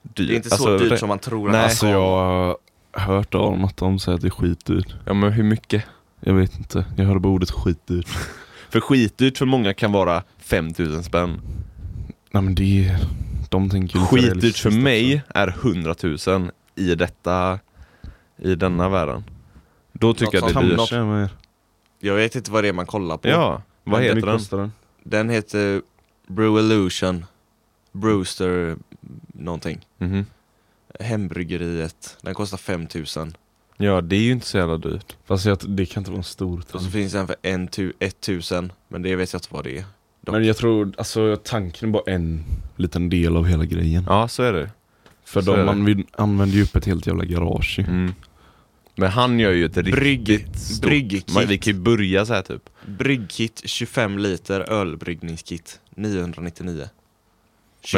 Speaker 1: dyrt.
Speaker 3: Det är inte så
Speaker 1: alltså,
Speaker 3: dyrt
Speaker 1: re-
Speaker 3: som man tror.
Speaker 1: Nej.
Speaker 3: att-
Speaker 2: Alltså jag har hört av dem att de säger att det är skitdyrt.
Speaker 1: Ja men hur mycket?
Speaker 2: Jag vet inte. Jag hörde bara ordet skitdyrt.
Speaker 1: För skitdyrt för många kan vara 5000 spänn.
Speaker 2: Nej men det... De tänker ju lite
Speaker 1: Skitdyrt
Speaker 2: realistiskt
Speaker 1: för
Speaker 2: också.
Speaker 1: mig är 100 000 i detta, i denna världen. Då tycker
Speaker 3: Något
Speaker 1: jag det
Speaker 3: som
Speaker 1: är dyrt.
Speaker 3: hamnar-
Speaker 2: Kanske, men-
Speaker 3: Jag vet inte vad det är man kollar på.
Speaker 1: Ja, vad
Speaker 2: Hur
Speaker 1: heter
Speaker 2: mycket
Speaker 1: den?
Speaker 2: kostar den?
Speaker 3: Den heter Brew Illusion Brewster någonting.
Speaker 1: Mhm.
Speaker 3: Hembryggeriet. Den kostar 5000.
Speaker 1: Ja, det är ju inte så jävla dyrt.
Speaker 2: Fast jag, det kan inte vara en stor
Speaker 3: Och
Speaker 2: tank.
Speaker 3: så finns den för en tu- 1000 men det vet jag inte vad det är. dock.
Speaker 2: Men jag tror, alltså tanken är bara en liten del av hela grejen.
Speaker 1: Ja, så är det.
Speaker 2: För
Speaker 1: så är
Speaker 2: de
Speaker 1: det.
Speaker 2: anv- använder ju upp ett helt jävla garage ju.
Speaker 1: Mm. Men han gör ju ett riktigt
Speaker 3: Brygg,
Speaker 1: stort...
Speaker 3: bryggkit.
Speaker 1: Man, vi kan ju börja så här typ.
Speaker 3: Bryggkit 25 liter ölbryggningskit 999.
Speaker 1: Men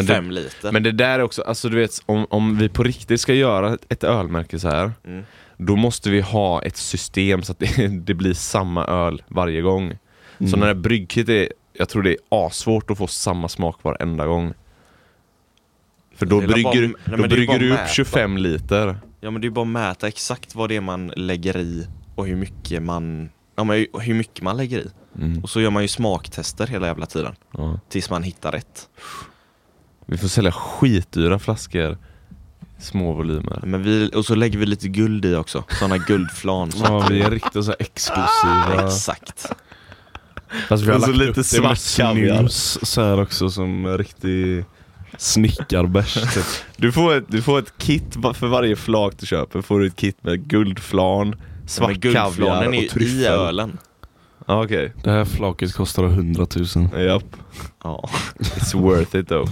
Speaker 3: 25
Speaker 1: det-
Speaker 3: liter.
Speaker 1: Men det där är också, alltså du vet om, om vi på riktigt ska göra ett- ett ölmärke så här
Speaker 3: Mm.
Speaker 1: Då måste vi ha ett system så att det, det blir samma öl varje gång. Så
Speaker 3: Mm.
Speaker 1: när det här bryggkit är, jag tror det är assvårt att få samma smak varenda gång. För då
Speaker 3: Det är väl bara-
Speaker 1: brygger,
Speaker 3: nej, men
Speaker 1: då
Speaker 3: det är ju
Speaker 1: brygger
Speaker 3: bara
Speaker 1: du upp
Speaker 3: mäta.
Speaker 1: 25 liter.
Speaker 3: Ja men det är ju bara att mäta exakt vad det är man lägger i och hur mycket man, ja, men och hur mycket man lägger i.
Speaker 1: Mm.
Speaker 3: Och så gör man ju smaktester hela jävla tiden.
Speaker 1: Ja.
Speaker 3: Tills man hittar rätt.
Speaker 1: Vi får sälja skitdyra flaskor, små volymer.
Speaker 3: Men vi, och så lägger vi lite guld i också, sådana guldflan så
Speaker 2: Ja
Speaker 3: att-
Speaker 2: vi är riktigt så här exklusiva.
Speaker 3: Exakt
Speaker 2: Fast vi har
Speaker 1: Och så
Speaker 2: lagt
Speaker 1: lite
Speaker 2: upp Ah, det med
Speaker 1: svart kaviar.
Speaker 2: snus så här också som en riktig snickarbärs typ.
Speaker 1: Du får, ett, du får ett kit va- för varje flak du köper, får du ett kit med guldflan, svart
Speaker 3: Men
Speaker 1: kaviar
Speaker 3: guldflanen är ju
Speaker 1: och
Speaker 3: i
Speaker 1: tryffel.
Speaker 3: ölen
Speaker 1: Ja okej,
Speaker 2: Det här flaket kostar 100 000.
Speaker 1: japp.
Speaker 3: Ja,
Speaker 1: It's worth it though.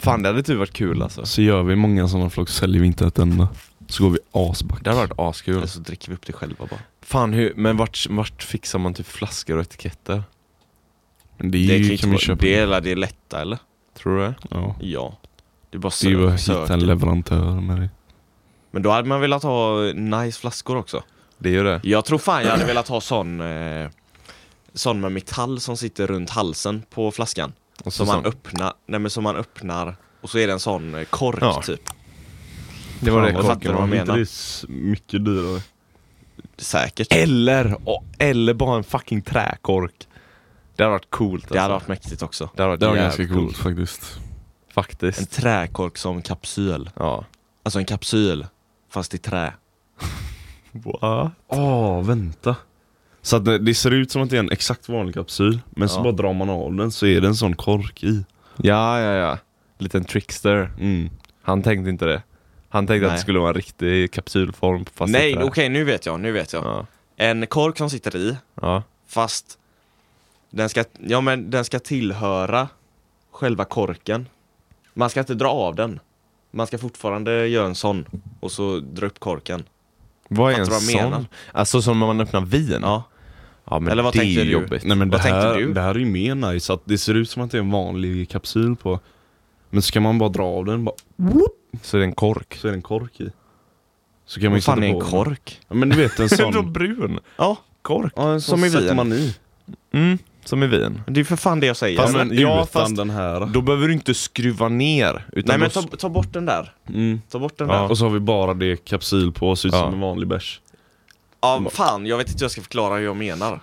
Speaker 1: Fan det hade typ varit kul alltså.
Speaker 2: Så gör vi många sådana flak så säljer vi inte ett enda. Så går vi asback.
Speaker 1: Det hade varit askul.
Speaker 3: eller så dricker vi upp det själva bara
Speaker 1: Fan hur, men vart, vart fixar man typ flaskor och etiketter?
Speaker 2: Men det,
Speaker 3: Det,
Speaker 2: är ju,
Speaker 3: kan ju
Speaker 2: kan vi
Speaker 3: inte vara,
Speaker 2: köpa.
Speaker 3: det, är, det är lätta eller?
Speaker 1: Tror du det?
Speaker 2: Ja.
Speaker 3: Ja Det är bara
Speaker 2: Det är ju
Speaker 3: sö-
Speaker 2: att hitta en
Speaker 3: sök
Speaker 2: leverantör med det.
Speaker 3: Men då hade man velat ha nice flaskor också
Speaker 1: Det är ju det.
Speaker 3: Jag tror fan jag hade velat ha sån eh, Sån med metall som sitter runt halsen på flaskan
Speaker 1: Och
Speaker 3: Som
Speaker 1: så
Speaker 3: man
Speaker 1: sån-
Speaker 3: öppnar, nej men som man öppnar och så är det en sån eh, kork
Speaker 1: Ja.
Speaker 3: typ
Speaker 1: det var det
Speaker 2: Fan, vad
Speaker 3: korken
Speaker 1: korken
Speaker 2: fattar
Speaker 1: var.
Speaker 3: man
Speaker 2: du?
Speaker 3: menar.
Speaker 2: Inte det är s- mycket dyrare.
Speaker 3: Säkert
Speaker 1: Eller, och- eller bara en fucking träkork. Det hade varit coolt alltså.
Speaker 3: Det hade varit mäktigt också
Speaker 1: det hade varit
Speaker 2: Det var
Speaker 1: jävligt
Speaker 2: ganska coolt faktiskt.
Speaker 1: Faktiskt.
Speaker 3: En träkork som kapsyl.
Speaker 1: Ja.
Speaker 3: Alltså en kapsyl, fast i trä.
Speaker 1: What?
Speaker 2: Åh, vänta. Så att det, det ser ut som att det är en exakt vanlig kapsyl, men så
Speaker 3: Ja.
Speaker 2: bara drar man av den så är det en sån kork i.
Speaker 1: Ja, ja, ja. Liten trickster.
Speaker 2: Mm.
Speaker 1: Han tänkte inte det. Han tänkte att
Speaker 3: Nej.
Speaker 1: det skulle vara en riktig kapsylform fast
Speaker 3: Nej,
Speaker 1: i trä.
Speaker 3: okej nu vet jag, nu vet jag.
Speaker 1: Ja.
Speaker 3: En kork som sitter i,
Speaker 1: ja.
Speaker 3: fast den ska, ja, men den ska tillhöra själva korken. Man ska inte dra av den. Man ska fortfarande göra en sån och så dra upp korken.
Speaker 1: Vad är en
Speaker 3: Fattar du vad jag
Speaker 1: sån?
Speaker 3: menar?
Speaker 1: Alltså som när man öppnar vin?
Speaker 3: Ja.
Speaker 1: Ja, men
Speaker 3: Eller vad
Speaker 1: det är
Speaker 3: tänkte
Speaker 1: ju
Speaker 3: du?
Speaker 1: jobbigt.
Speaker 2: Nej men det
Speaker 3: Vad tänkte
Speaker 2: här,
Speaker 3: du?
Speaker 2: det här är ju mer nice, att det ser ut som att det är en vanlig kapsyl på. Men så kan man bara dra av den, bara,
Speaker 1: Så det är en kork.
Speaker 2: så är det en kork i. Så kan man ju
Speaker 3: Vad fan
Speaker 2: sätta
Speaker 3: är en
Speaker 2: på den.
Speaker 3: kork?
Speaker 2: Ja, men du vet en sån.
Speaker 1: brun?
Speaker 3: Ja,
Speaker 1: Kork?
Speaker 2: ja, en sån
Speaker 3: Som i
Speaker 2: sätter
Speaker 3: vin.
Speaker 2: man i.
Speaker 1: Mm, som i vin.
Speaker 3: det är för fan det jag säger.
Speaker 1: Fast-
Speaker 2: ja, men,
Speaker 1: men- ja,
Speaker 2: utan
Speaker 1: fast-
Speaker 2: den här.
Speaker 1: Då behöver du inte skruva ner. Utan
Speaker 3: Nej
Speaker 1: då
Speaker 3: men
Speaker 1: sk-
Speaker 3: ta, ta bort den där.
Speaker 2: Mm.
Speaker 3: Ta bort den
Speaker 1: Ja.
Speaker 3: där.
Speaker 2: Och så har vi bara det kapsyl på, ser ut
Speaker 1: Ja.
Speaker 2: som en vanlig bärs.
Speaker 3: Ja, fan, jag vet inte hur jag ska förklara hur jag menar.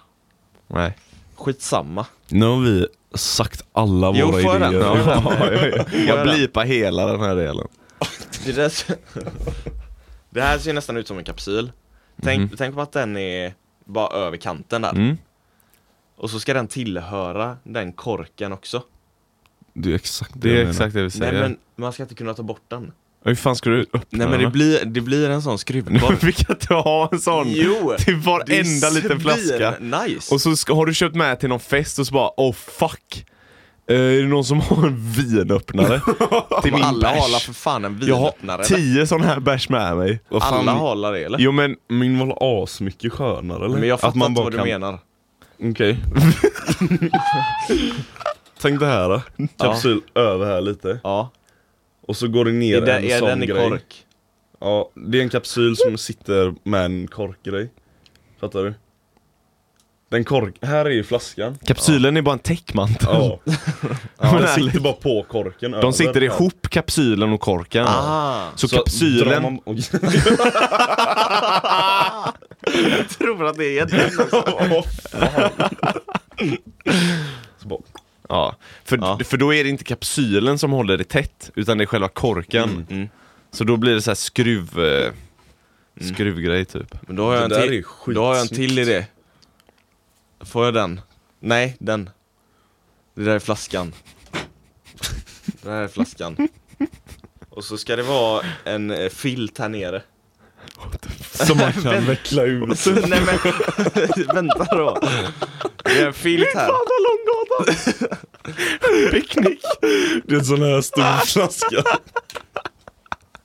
Speaker 1: Nej.
Speaker 3: Skitsamma.
Speaker 2: Nu har vi sagt alla
Speaker 3: Jo,
Speaker 2: våra
Speaker 3: får jag den?
Speaker 2: idéer.
Speaker 3: Ja.
Speaker 1: jag blipar hela den här delen.
Speaker 3: Det, där, ser- det här ser ju nästan ut som en kapsyl Tänk, tänk på att den är bara över kanten där
Speaker 1: Mm.
Speaker 3: Och så ska den tillhöra den korken också
Speaker 2: Det är exakt det,
Speaker 1: Det
Speaker 2: jag
Speaker 1: är
Speaker 2: menar.
Speaker 1: exakt det vi
Speaker 3: Nej
Speaker 1: säger.
Speaker 3: men man ska inte kunna ta bort den
Speaker 1: Hur fan ska du öppna
Speaker 3: Nej men det
Speaker 1: den?
Speaker 3: blir, det blir en sån
Speaker 1: Nu
Speaker 3: skruvkork
Speaker 1: fick jag inte ha en sån
Speaker 3: Jo!
Speaker 1: till
Speaker 3: det är
Speaker 1: varenda
Speaker 3: svin-
Speaker 1: liten flaska.
Speaker 3: Nice!
Speaker 1: Och så ska, har du köpt med till någon fest och så bara oh fuck. Eh, är det någon som har en vinöppnare? till
Speaker 3: Men
Speaker 1: min
Speaker 3: alla
Speaker 1: bärs?
Speaker 3: halar för fan en
Speaker 1: Jag har
Speaker 3: vinöppnare
Speaker 1: tio sådana här bärs med mig.
Speaker 2: Vad fan,
Speaker 3: Alla halar det eller?
Speaker 1: Jo men,
Speaker 2: Min var asmycket skönare eller?
Speaker 3: Men jag fattar inte
Speaker 2: bara
Speaker 3: vad du
Speaker 2: kan-
Speaker 3: menar
Speaker 2: Okej. Tänk det här då. Kapsyl över här lite.
Speaker 3: Ja,
Speaker 2: Och så går det ner
Speaker 3: är, den-
Speaker 2: en
Speaker 3: är
Speaker 2: sån
Speaker 3: den i
Speaker 2: grej.
Speaker 3: kork?
Speaker 2: Ja, det är en kapsyl som sitter med en korkgrej. Fattar du? Den kork... Här är ju flaskan.
Speaker 1: kapsylen är bara en täckmantel.
Speaker 2: Ja.
Speaker 1: Men
Speaker 2: den
Speaker 1: ärligt,
Speaker 2: sitter bara på korken. över.
Speaker 1: de sitter ihop kapsylen och korken.
Speaker 3: Ah!
Speaker 1: Så,
Speaker 2: Så drar
Speaker 1: kapsylen...
Speaker 2: man- Oj.
Speaker 3: Jag
Speaker 2: alltså.
Speaker 3: tror att det är den
Speaker 2: Åh, fan. Så bara...
Speaker 1: Ja. För,
Speaker 3: Ja.
Speaker 1: för då är det inte kapsylen som håller det tätt, utan det är själva korken.
Speaker 3: Mm.
Speaker 1: Så då blir det så här skruv... eh, Skruvgrej typ.
Speaker 3: Men då har, jag en
Speaker 2: Det där
Speaker 3: till,
Speaker 2: är
Speaker 3: då har jag en
Speaker 2: skitsnyggt.
Speaker 3: till idé. Får jag den? Nej, den. Det där är flaskan. Det där är flaskan. Och så ska det vara en eh, filt här nere.
Speaker 4: Som man kan veckla ur.
Speaker 3: Så, nej men, vänta då. Det är en filt här.
Speaker 1: Picknick!
Speaker 2: Det är en sån här stor flaska.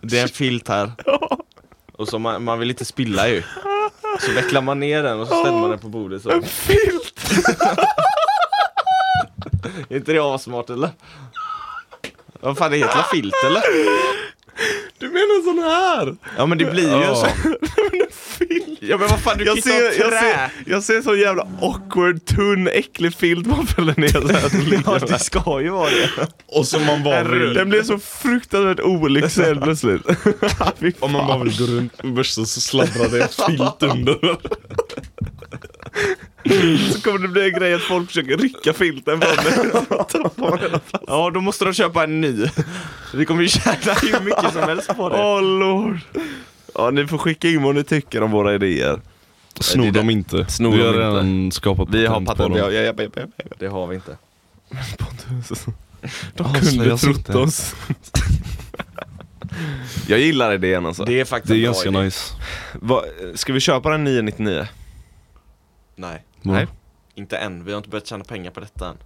Speaker 3: Det är en filt här. Och så man, man vill inte spilla ju. Så vecklar man ner den och så ställer man den på bordet så. En filt! är inte det assmart eller? Vad fan, det heter väl filt eller?
Speaker 1: Du menar sån här?
Speaker 3: Ja men det blir ju en sån. Ja men vad fan, du kan
Speaker 1: Jag
Speaker 3: ju inte
Speaker 1: ser,
Speaker 3: ha
Speaker 1: jag,
Speaker 3: trä!
Speaker 1: ser, jag ser sån jävla awkward, tunn, äcklig filt man fäller ner så här. som ligger
Speaker 3: Ja
Speaker 1: där.
Speaker 3: det ska ju vara det.
Speaker 2: Och som man bara vill,
Speaker 1: Den blev så fruktansvärt olycklig helt plötsligt. Fy
Speaker 2: om man bara vill gå runt med börsen så sladdrar det en filt under.
Speaker 1: Så kommer det bli en grej att folk försöker rycka filten från dig.
Speaker 3: Ja då måste de köpa en ny. Vi kommer ju tjäna hur mycket som helst på det.
Speaker 1: Åh lord. Ja, ni får skicka in vad ni tycker om våra idéer.
Speaker 2: Snor dem inte.
Speaker 1: Snor
Speaker 2: Vi har
Speaker 1: dem inte.
Speaker 2: redan skapat
Speaker 1: Vi har
Speaker 2: på
Speaker 1: patent.
Speaker 2: dem.
Speaker 1: Ja, ja, ja, ja, ja, ja.
Speaker 3: Det har vi inte.
Speaker 1: Pontus. De
Speaker 4: Avslöjas
Speaker 1: kunde trott
Speaker 4: inte.
Speaker 1: oss. Jag gillar idén alltså.
Speaker 3: Det är faktiskt
Speaker 2: Det är
Speaker 3: en bra
Speaker 2: ganska
Speaker 3: idé.
Speaker 2: nice.
Speaker 1: Va, ska vi köpa den 999?
Speaker 3: Nej.
Speaker 1: Nej.
Speaker 2: alltså,
Speaker 3: Inte än, vi har inte börjat tjäna pengar på detta än.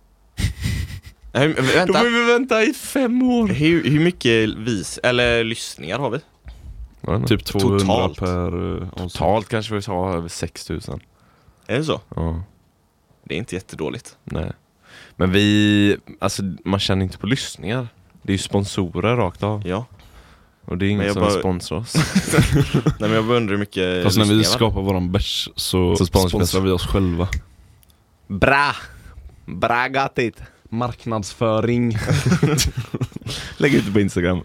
Speaker 3: Nej, men
Speaker 1: Då
Speaker 3: vänta.
Speaker 1: får vi vänta i fem år.
Speaker 3: Hur, hur mycket vis, eller lyssningar har vi?
Speaker 1: Typ
Speaker 2: Typ 200
Speaker 3: Totalt.
Speaker 2: per eh, avsnitt.
Speaker 1: totalt kanske vi har över 6000.
Speaker 3: Är det så?
Speaker 1: Ja,
Speaker 3: Det är inte jättedåligt.
Speaker 1: nej. Men vi, alltså man känner inte på lyssningar. Det är ju sponsorer rakt av.
Speaker 3: Ja.
Speaker 1: Och det är
Speaker 3: Men
Speaker 1: ingen
Speaker 3: jag
Speaker 1: som
Speaker 3: bara-
Speaker 1: sponsrar oss.
Speaker 3: Nej men jag bara undrar hur mycket
Speaker 2: Fast när vi
Speaker 3: lyssningar
Speaker 2: skapar våran bärs så,
Speaker 1: Så sponsrar vi
Speaker 2: sponsrar vi oss själva.
Speaker 1: Bra! Bra gattit!
Speaker 4: Marknadsföring.
Speaker 1: Lägg ut det på Instagram.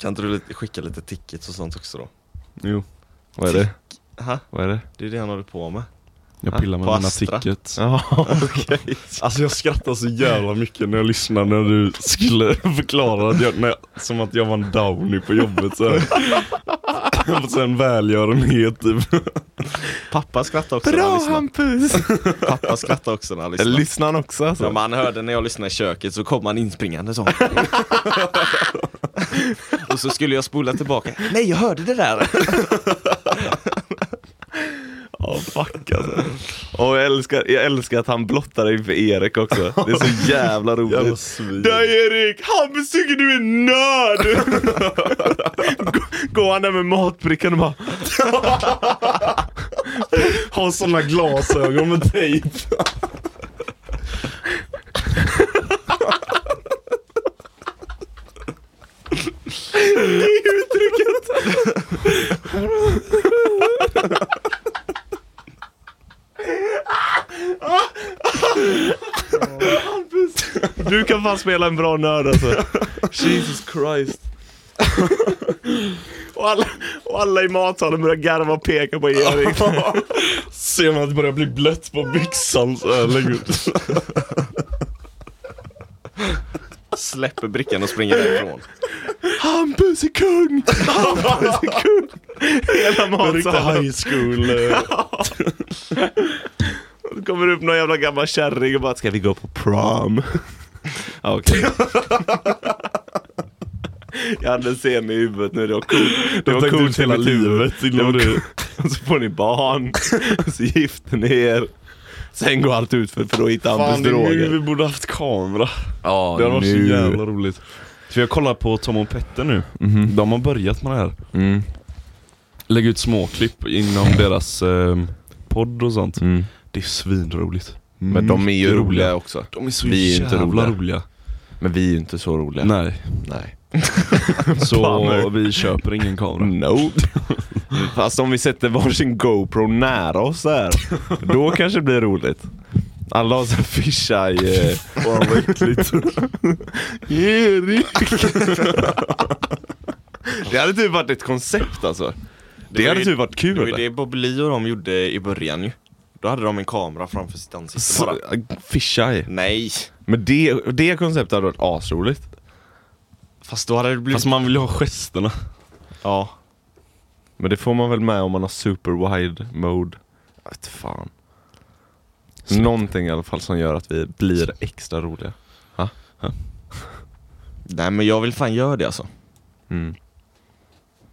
Speaker 3: Kan inte du lite- skicka lite tickets och sånt också då?
Speaker 2: Jo.
Speaker 1: Vad är det?
Speaker 3: Aha,
Speaker 1: Vad är det?
Speaker 3: det är det han håller på med.
Speaker 1: Ah,
Speaker 2: Jag pillar med
Speaker 3: på
Speaker 2: mina
Speaker 3: Astra.
Speaker 2: tickets.
Speaker 1: Jaha.
Speaker 2: Alltså jag skrattar så jävla mycket när jag lyssnar när du skulle förklara att jag, när jag, som att jag var en downy på jobbet så här. Och sen välgörenhet typ.
Speaker 3: Pappa skrattade också när han
Speaker 1: Bra
Speaker 3: lyssnade.
Speaker 1: Hampus!
Speaker 3: Pappa skrattade också när han lyssnade.
Speaker 1: Lyssnar han också
Speaker 3: Ja,
Speaker 1: alltså?
Speaker 3: men han hörde när jag lyssnade i köket så kom han inspringande så. och så skulle jag spola tillbaka. Nej, jag hörde det där!
Speaker 1: Ja, fuck alltså. Och jag älskar, jag älskar att han blottar dig för Erik också. Det är så jävla
Speaker 2: Jävla
Speaker 1: roligt.
Speaker 2: svin.
Speaker 1: Där Erik! Hampus tycker du är nörd! Gå- Går han där med matbrickan och bara
Speaker 2: Har såna glasögon med tejp.
Speaker 1: Du kan fan spela en bra nörd alltså. Jesus Christ. och, alla, och alla i matsalen börjar garva och peka på Erik.
Speaker 2: Ser man att det börjar bli blött på byxan så här längre ut.
Speaker 3: Släpper brickan och springer därifrån.
Speaker 1: Hampus är kung! Hampus är kung! Hela
Speaker 2: Riktigt
Speaker 1: matsalen.
Speaker 2: high school. eh,
Speaker 1: Det kommer upp någon jävla gammal kärring och bara Ska vi gå på prom? Ja, Okej. Jag hade en scen i huvudet nu, det var coolt. Det var
Speaker 2: tänkte
Speaker 1: coolt
Speaker 2: ut hela
Speaker 1: i mitt huvud.
Speaker 2: livet innan
Speaker 1: Det var
Speaker 2: du...
Speaker 1: Och så får ni barn, och så gifter ni er. Sen går allt ut för, för då hittar Hampus
Speaker 2: Fan det är nu
Speaker 1: droger.
Speaker 2: vi borde haft kamera.
Speaker 1: Ja,
Speaker 2: Det hade varit så jävla roligt. För jag kollar på Tom och Petter nu. De har börjat med det här.
Speaker 1: Mm.
Speaker 2: Lägga ut småklipp inom deras eh, podd och sånt.
Speaker 1: Mm.
Speaker 2: Det är svinroligt.
Speaker 1: Men de är ju
Speaker 2: Mycket
Speaker 1: roliga,
Speaker 2: roliga.
Speaker 1: också.
Speaker 2: De är så
Speaker 1: Vi är ju
Speaker 2: jävla
Speaker 1: inte
Speaker 2: roliga.
Speaker 1: roliga. Men vi är ju inte så roliga.
Speaker 2: Nej,
Speaker 1: Nej.
Speaker 2: så
Speaker 1: Bummer.
Speaker 2: vi köper ingen kamera.
Speaker 1: No. Fast om vi sätter varsin GoPro nära oss så här, då kanske det blir roligt. Alla har såhär fisheye... Eh...
Speaker 2: Fan vad äckligt.
Speaker 1: Erik! det hade typ varit ett koncept alltså. Det,
Speaker 3: var
Speaker 1: hade
Speaker 3: ju-
Speaker 1: typ varit
Speaker 3: Det var ju
Speaker 1: kul.
Speaker 3: det Bob Lee och de gjorde i början ju. Då hade de en kamera framför sitt ansikte bara.
Speaker 1: Fisheye.
Speaker 3: Nej,
Speaker 1: Men det, det konceptet hade varit asroligt.
Speaker 3: Fast då hade det blivit...
Speaker 1: Fast man vill ju ha gesterna.
Speaker 3: Ja.
Speaker 1: Men det får man väl med om man har super wide mode. Jag vet fan. Någonting i alla fall som gör att vi blir extra roliga.
Speaker 3: Nej men jag vill fan göra det alltså.
Speaker 1: Mm.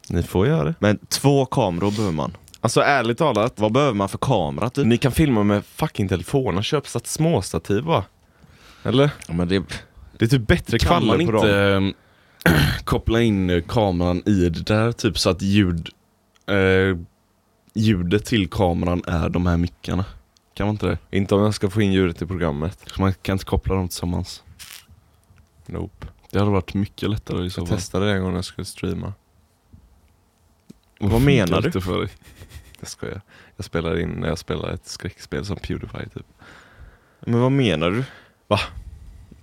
Speaker 1: Ni får göra det.
Speaker 3: Men två kameror behöver man.
Speaker 1: Alltså ärligt talat,
Speaker 3: Vad behöver man för kamera typ?
Speaker 1: ni kan filma med fucking telefoner. Köp sat- småstativ bara. Eller?
Speaker 3: Ja, men det...
Speaker 1: Det är typ bättre
Speaker 2: Kan man
Speaker 1: kvaller på
Speaker 2: inte
Speaker 1: dem.
Speaker 2: ehm, koppla in eh, kameran i det där typ så att ljud, eh, ljudet till kameran är de här mickarna? Kan man inte det?
Speaker 1: Inte om jag ska få in ljudet i programmet.
Speaker 2: Så man kan inte koppla dem tillsammans?
Speaker 1: Nope.
Speaker 2: Det hade varit mycket lättare i så
Speaker 1: Jag
Speaker 2: fall.
Speaker 1: testade det en gång när jag skulle streama.
Speaker 2: Vad
Speaker 3: menar
Speaker 2: funkar
Speaker 3: du?
Speaker 2: inte För dig.
Speaker 1: Jag skojar. Jag spelar in när jag spelar ett skräckspel som Pewdiepie typ.
Speaker 3: Men vad menar du?
Speaker 1: Va?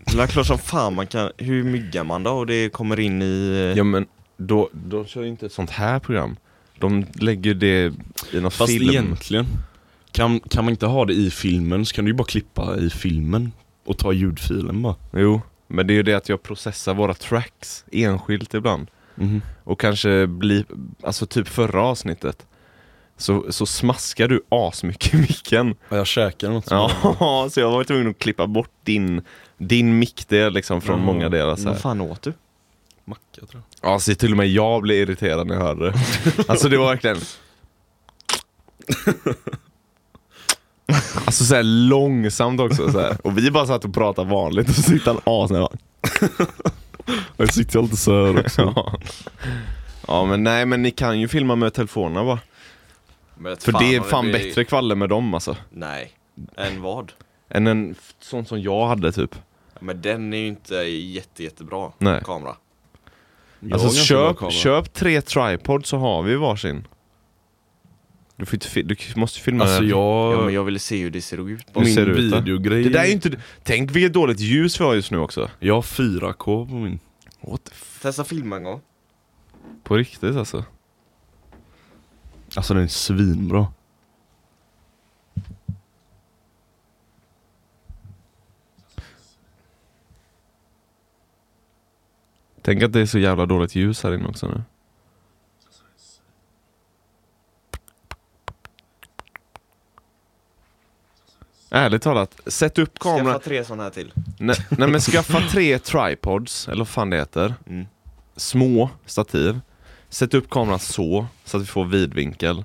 Speaker 3: Det är klart som fan man kan... Hur myggar man då och det kommer in i... eh,
Speaker 1: Ja men då, de kör ju inte ett sånt här program. De lägger ju det i någon
Speaker 2: Fast
Speaker 1: film.
Speaker 2: egentligen, kan, kan man inte ha det i filmen så kan du ju bara klippa i filmen och ta ljudfilen bara.
Speaker 1: Jo, men det är ju det att jag processar våra tracks enskilt ibland. Och kanske bli, alltså typ förra avsnittet. Så, så smaskar du asmycket i micken.
Speaker 2: Ja, Jag käkar något. Ja.
Speaker 1: Ja, så jag var tvungen att klippa bort din, din mickdel liksom från
Speaker 2: Mm.
Speaker 1: många delar så
Speaker 3: Vad
Speaker 1: här.
Speaker 3: fan åt du?
Speaker 2: Macka tror jag.
Speaker 1: Ja, så till och med jag blev irriterad när jag hörde det. Alltså det var verkligen... Alltså såhär långsamt också så här. Och vi bara satt och pratade vanligt och så sitter han asnära och bara,
Speaker 2: Jag sitter alltid så här också.
Speaker 1: ja. ja men nej men ni kan ju filma med telefonerna va?
Speaker 3: Men
Speaker 1: För det är fan bättre kvaller med dem alltså.
Speaker 3: Nej. Än vad?
Speaker 1: Än en f- sån som jag hade typ.
Speaker 3: Men den är ju inte jätte, jättebra
Speaker 1: Nej.
Speaker 3: kamera.
Speaker 2: Jag har
Speaker 1: Alltså
Speaker 2: ganska bra
Speaker 1: köp,
Speaker 2: kamera.
Speaker 1: köp tre tripod så har vi varsin. Du, får inte, fi- du k- måste ju filma
Speaker 2: Alltså jag...
Speaker 3: Ja, men jag ville se hur det ser ut. bara.
Speaker 1: hur
Speaker 2: min
Speaker 1: ser det ut, då?
Speaker 2: videogrej.
Speaker 1: Det där är ju inte... Tänk vilket dåligt ljus vi har just nu också.
Speaker 2: Jag har 4K på min.
Speaker 1: What the f-
Speaker 3: Testa filma en gång.
Speaker 1: På riktigt alltså.
Speaker 2: Alltså den är svinbra.
Speaker 1: Tänk att det är så jävla dåligt ljus här inne också nu. Ärligt talat, sätt upp
Speaker 3: Skaffa
Speaker 1: kameran.
Speaker 3: tre sådana här till.
Speaker 1: Nej, nej men skaffa tre tripods, eller vad fan det heter.
Speaker 3: Mm.
Speaker 1: Små stativ. Sätt upp kameran så, så att vi får vidvinkel.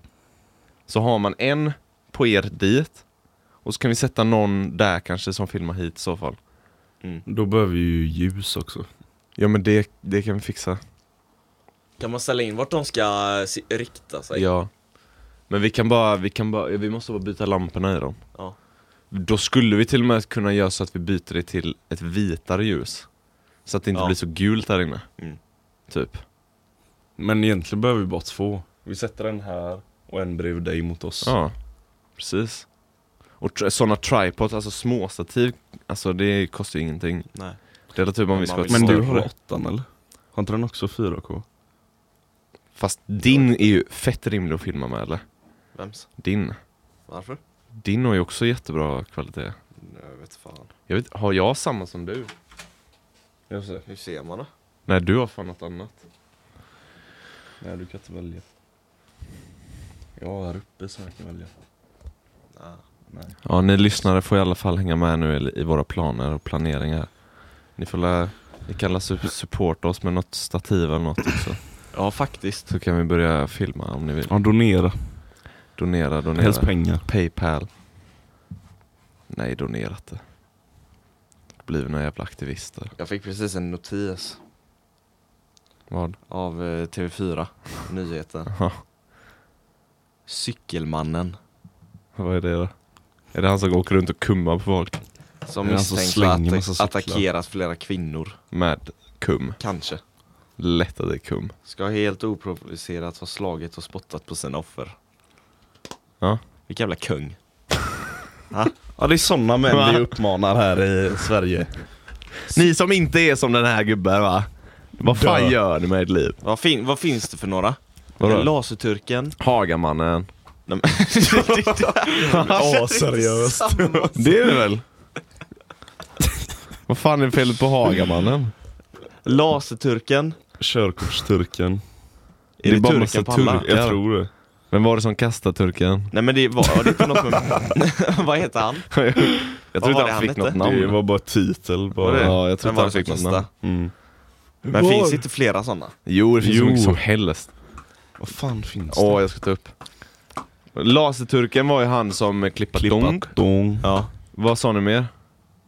Speaker 1: Så har man en på er dit. Och så kan vi sätta någon där kanske som filmar hit i så fall.
Speaker 2: Då behöver vi ju ljus också.
Speaker 1: Ja men det, det kan vi fixa.
Speaker 3: Kan man ställa in vart de ska eh, si- rikta sig?
Speaker 1: Ja. Men vi kan bara, vi kan bara, vi måste bara byta lamporna i dem.
Speaker 3: Ja.
Speaker 1: Då skulle vi till och med kunna göra så att vi byter det till ett vitare ljus. Så att det inte
Speaker 3: Ja.
Speaker 1: blir så gult här inne.
Speaker 3: Mm.
Speaker 1: Typ.
Speaker 2: Men egentligen behöver vi bara två. Vi sätter en här och en bredvid dig mot oss.
Speaker 1: Ja, precis. Och tr- sådana tripods, alltså småstativ, alltså det kostar ju ingenting.
Speaker 3: Nej.
Speaker 1: Det är typ om
Speaker 3: Men
Speaker 1: vi ska
Speaker 3: man
Speaker 1: ha ett
Speaker 3: vill-
Speaker 2: Men du
Speaker 1: större.
Speaker 2: har åttan eller? Har inte den också 4K?
Speaker 1: Fast din är ju fett rimlig att filma med eller?
Speaker 3: Vems?
Speaker 1: Din.
Speaker 3: Varför?
Speaker 1: Din har ju också jättebra kvalitet.
Speaker 3: Jag vet fan.
Speaker 1: Jag vet, har jag samma som du?
Speaker 2: Jag ser.
Speaker 3: Hur ser man det?
Speaker 1: Nej, du har fan något annat.
Speaker 2: Nej du kan inte välja. Ja här uppe så jag kan välja.
Speaker 3: Nej.
Speaker 1: Ja, ni lyssnare får i alla fall hänga med nu i- i våra planer och planeringar. Ni får lä- ni kan lä- su- supporta oss med något stativ eller något också.
Speaker 3: Ja faktiskt.
Speaker 1: Så kan vi börja filma om ni vill.
Speaker 2: Ja donera.
Speaker 1: Donera, donera.
Speaker 2: Helst pengar.
Speaker 1: Paypal. Nej, donera inte. Blir några jävla aktivister.
Speaker 3: Jag fick precis en notis
Speaker 1: Vad?
Speaker 3: av eh, TV4 Nyheten.
Speaker 1: Ja.
Speaker 3: Cykelmannen
Speaker 1: Vad är det då? Är det han som åker runt och kummar på folk?
Speaker 3: som
Speaker 2: Det är han som
Speaker 3: misstänks
Speaker 2: slänger
Speaker 3: ha att
Speaker 2: massa
Speaker 3: attackerat flera kvinnor.
Speaker 1: Med kum.
Speaker 3: Kanske.
Speaker 1: Lätt att det är kum.
Speaker 3: Ska helt oprovocerat ha slagit och spottat på sina offer.
Speaker 1: Ja.
Speaker 3: Vilken jävla kung.
Speaker 2: Ja det är sådana
Speaker 1: Va?
Speaker 2: män vi uppmanar här i Sverige.
Speaker 1: Ni som inte är som den här gubben va? Vad fan
Speaker 2: Dö.
Speaker 1: gör ni med ert liv?
Speaker 3: Vad, fin- vad finns det för några?
Speaker 1: Vadå?
Speaker 3: Laserturken.
Speaker 1: Hagamannen.
Speaker 3: Nej, men-
Speaker 2: Aseriöst.
Speaker 1: Det är det väl? Vad fan är felet på Hagamannen?
Speaker 3: Laserturken.
Speaker 2: Körkortsturken.
Speaker 3: Är det, turken på alla?
Speaker 1: turkar.
Speaker 2: Jag tror det.
Speaker 1: Vem var det som kastade turken?
Speaker 3: Nej men det var, var det inte något med... Vad heter han?
Speaker 1: jag tror
Speaker 3: var det
Speaker 1: inte
Speaker 3: han
Speaker 1: han fick
Speaker 3: hette?
Speaker 1: något
Speaker 2: Det
Speaker 1: namn.
Speaker 2: var bara titel
Speaker 3: Var
Speaker 2: bara.
Speaker 3: det?
Speaker 1: Ja, jag tror
Speaker 3: Vem var
Speaker 1: inte han
Speaker 3: det som
Speaker 1: fick något
Speaker 3: kastade?
Speaker 1: namn.
Speaker 2: Mm.
Speaker 3: Men finns det inte flera sådana?
Speaker 1: Jo, det finns
Speaker 2: Jo.
Speaker 1: hur mycket som helst.
Speaker 2: Vad fan finns
Speaker 1: Åh, jag ska ta upp. Laserturken var ju han som klippat donk.
Speaker 2: Dong.
Speaker 3: Ja.
Speaker 1: Vad sa ni mer?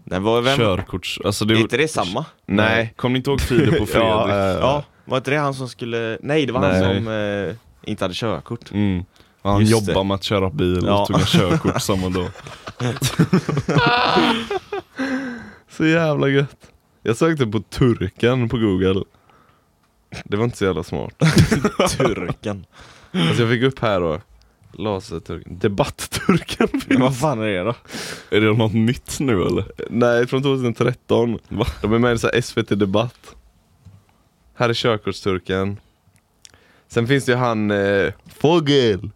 Speaker 3: Nej, var vem?
Speaker 2: Körkorts... Alltså
Speaker 3: Är
Speaker 2: det...
Speaker 3: inte det samma?
Speaker 1: Nej.
Speaker 2: Kommer ni inte ihåg Filip och
Speaker 1: Ja,
Speaker 2: Fredrik?
Speaker 1: eh,
Speaker 3: Ja, var inte det han som skulle... Nej, det var han
Speaker 2: Nej.
Speaker 3: som eh, inte hade körkort.
Speaker 2: Mm. Och Han
Speaker 3: typ. Just
Speaker 2: jobbar
Speaker 3: det.
Speaker 2: med att köra bil och
Speaker 3: Ja.
Speaker 2: tog en körkort samma dag.
Speaker 1: Så jävla gött. Jag sökte på turken på google. Det var inte så jävla smart.
Speaker 3: Turken.
Speaker 1: Alltså jag fick upp här då. Laserturken. Debattturken.
Speaker 3: Men vad fan är det då?
Speaker 2: Är det något nytt nu eller?
Speaker 1: Nej, från 2013. De är med i så här SVT Debatt. Här är körkortsturken. Sen finns det ju han... Eh, fågel!